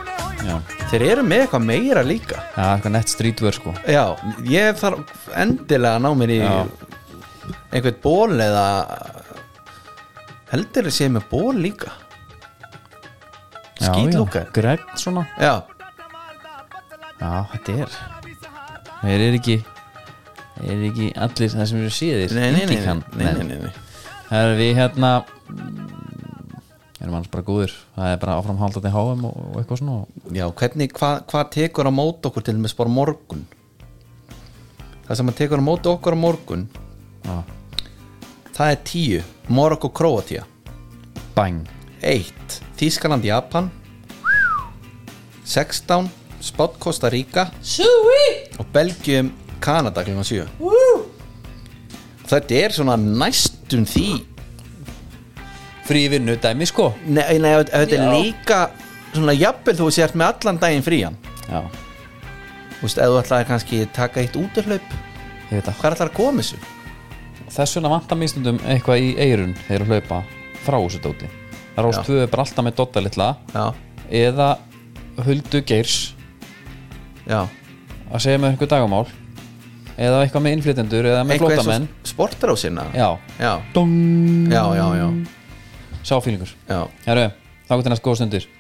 [SPEAKER 1] Já,
[SPEAKER 2] Þeir eru með eitthvað meira líka
[SPEAKER 1] Já, eitthvað nett streetwear sko
[SPEAKER 2] Já, ég þarf endilega að ná mér í
[SPEAKER 1] Já.
[SPEAKER 2] einhvern ból eða heldur þið séð með ból líka
[SPEAKER 1] Já,
[SPEAKER 2] Skítlúkar.
[SPEAKER 1] já, Grænn svona
[SPEAKER 2] Já,
[SPEAKER 1] Já, þetta er Þeir eru ekki Þeir eru ekki allir það sem eru síðir
[SPEAKER 2] nei, nei, nei, nei,
[SPEAKER 1] Indikan.
[SPEAKER 2] nei, nei, nei, nei.
[SPEAKER 1] Það er við hérna mm, erum annars bara góðir það er bara áframhaldandi háum og, og eitthvað svona og,
[SPEAKER 2] Já, hvernig, hvað hva tekur á mót okkur til með spara morgun Það sem að tekur á mót okkur á morgun
[SPEAKER 1] já,
[SPEAKER 2] Það er tíu, Morokko Króatía
[SPEAKER 1] bang
[SPEAKER 2] Eitt, Þískaland Japan 16 Spott Costa Rica Sui! og Belgium Kanada kl. 7 Woo! Þetta er svona næstum því
[SPEAKER 1] Frí vinnu dæmi sko
[SPEAKER 2] Nei, nei þetta þetta er líka svona jafnvel þú sért með allan daginn frían
[SPEAKER 1] Já,
[SPEAKER 2] Þú veist, eða þú ætlaði kannski taka eitt útihlaup
[SPEAKER 1] ég veit það
[SPEAKER 2] Hvað ætlar að koma þessu?
[SPEAKER 1] Þess vegna vantar mistundum eitthvað í eirun þegar að hlaupa frá þessu dóti Rás
[SPEAKER 2] Já.
[SPEAKER 1] 2 er bara alltaf með dotta litla
[SPEAKER 2] Já,
[SPEAKER 1] eða Huldu Geirs
[SPEAKER 2] já
[SPEAKER 1] að segja með einhver dagamál eða eitthvað með innflytendur eða með flótamenn
[SPEAKER 2] sportar á sinna
[SPEAKER 1] Já,
[SPEAKER 2] já,
[SPEAKER 1] Dong.
[SPEAKER 2] já, já, já,
[SPEAKER 1] sáfílingur
[SPEAKER 2] já.
[SPEAKER 1] Herru, þá gott er næst góða stundir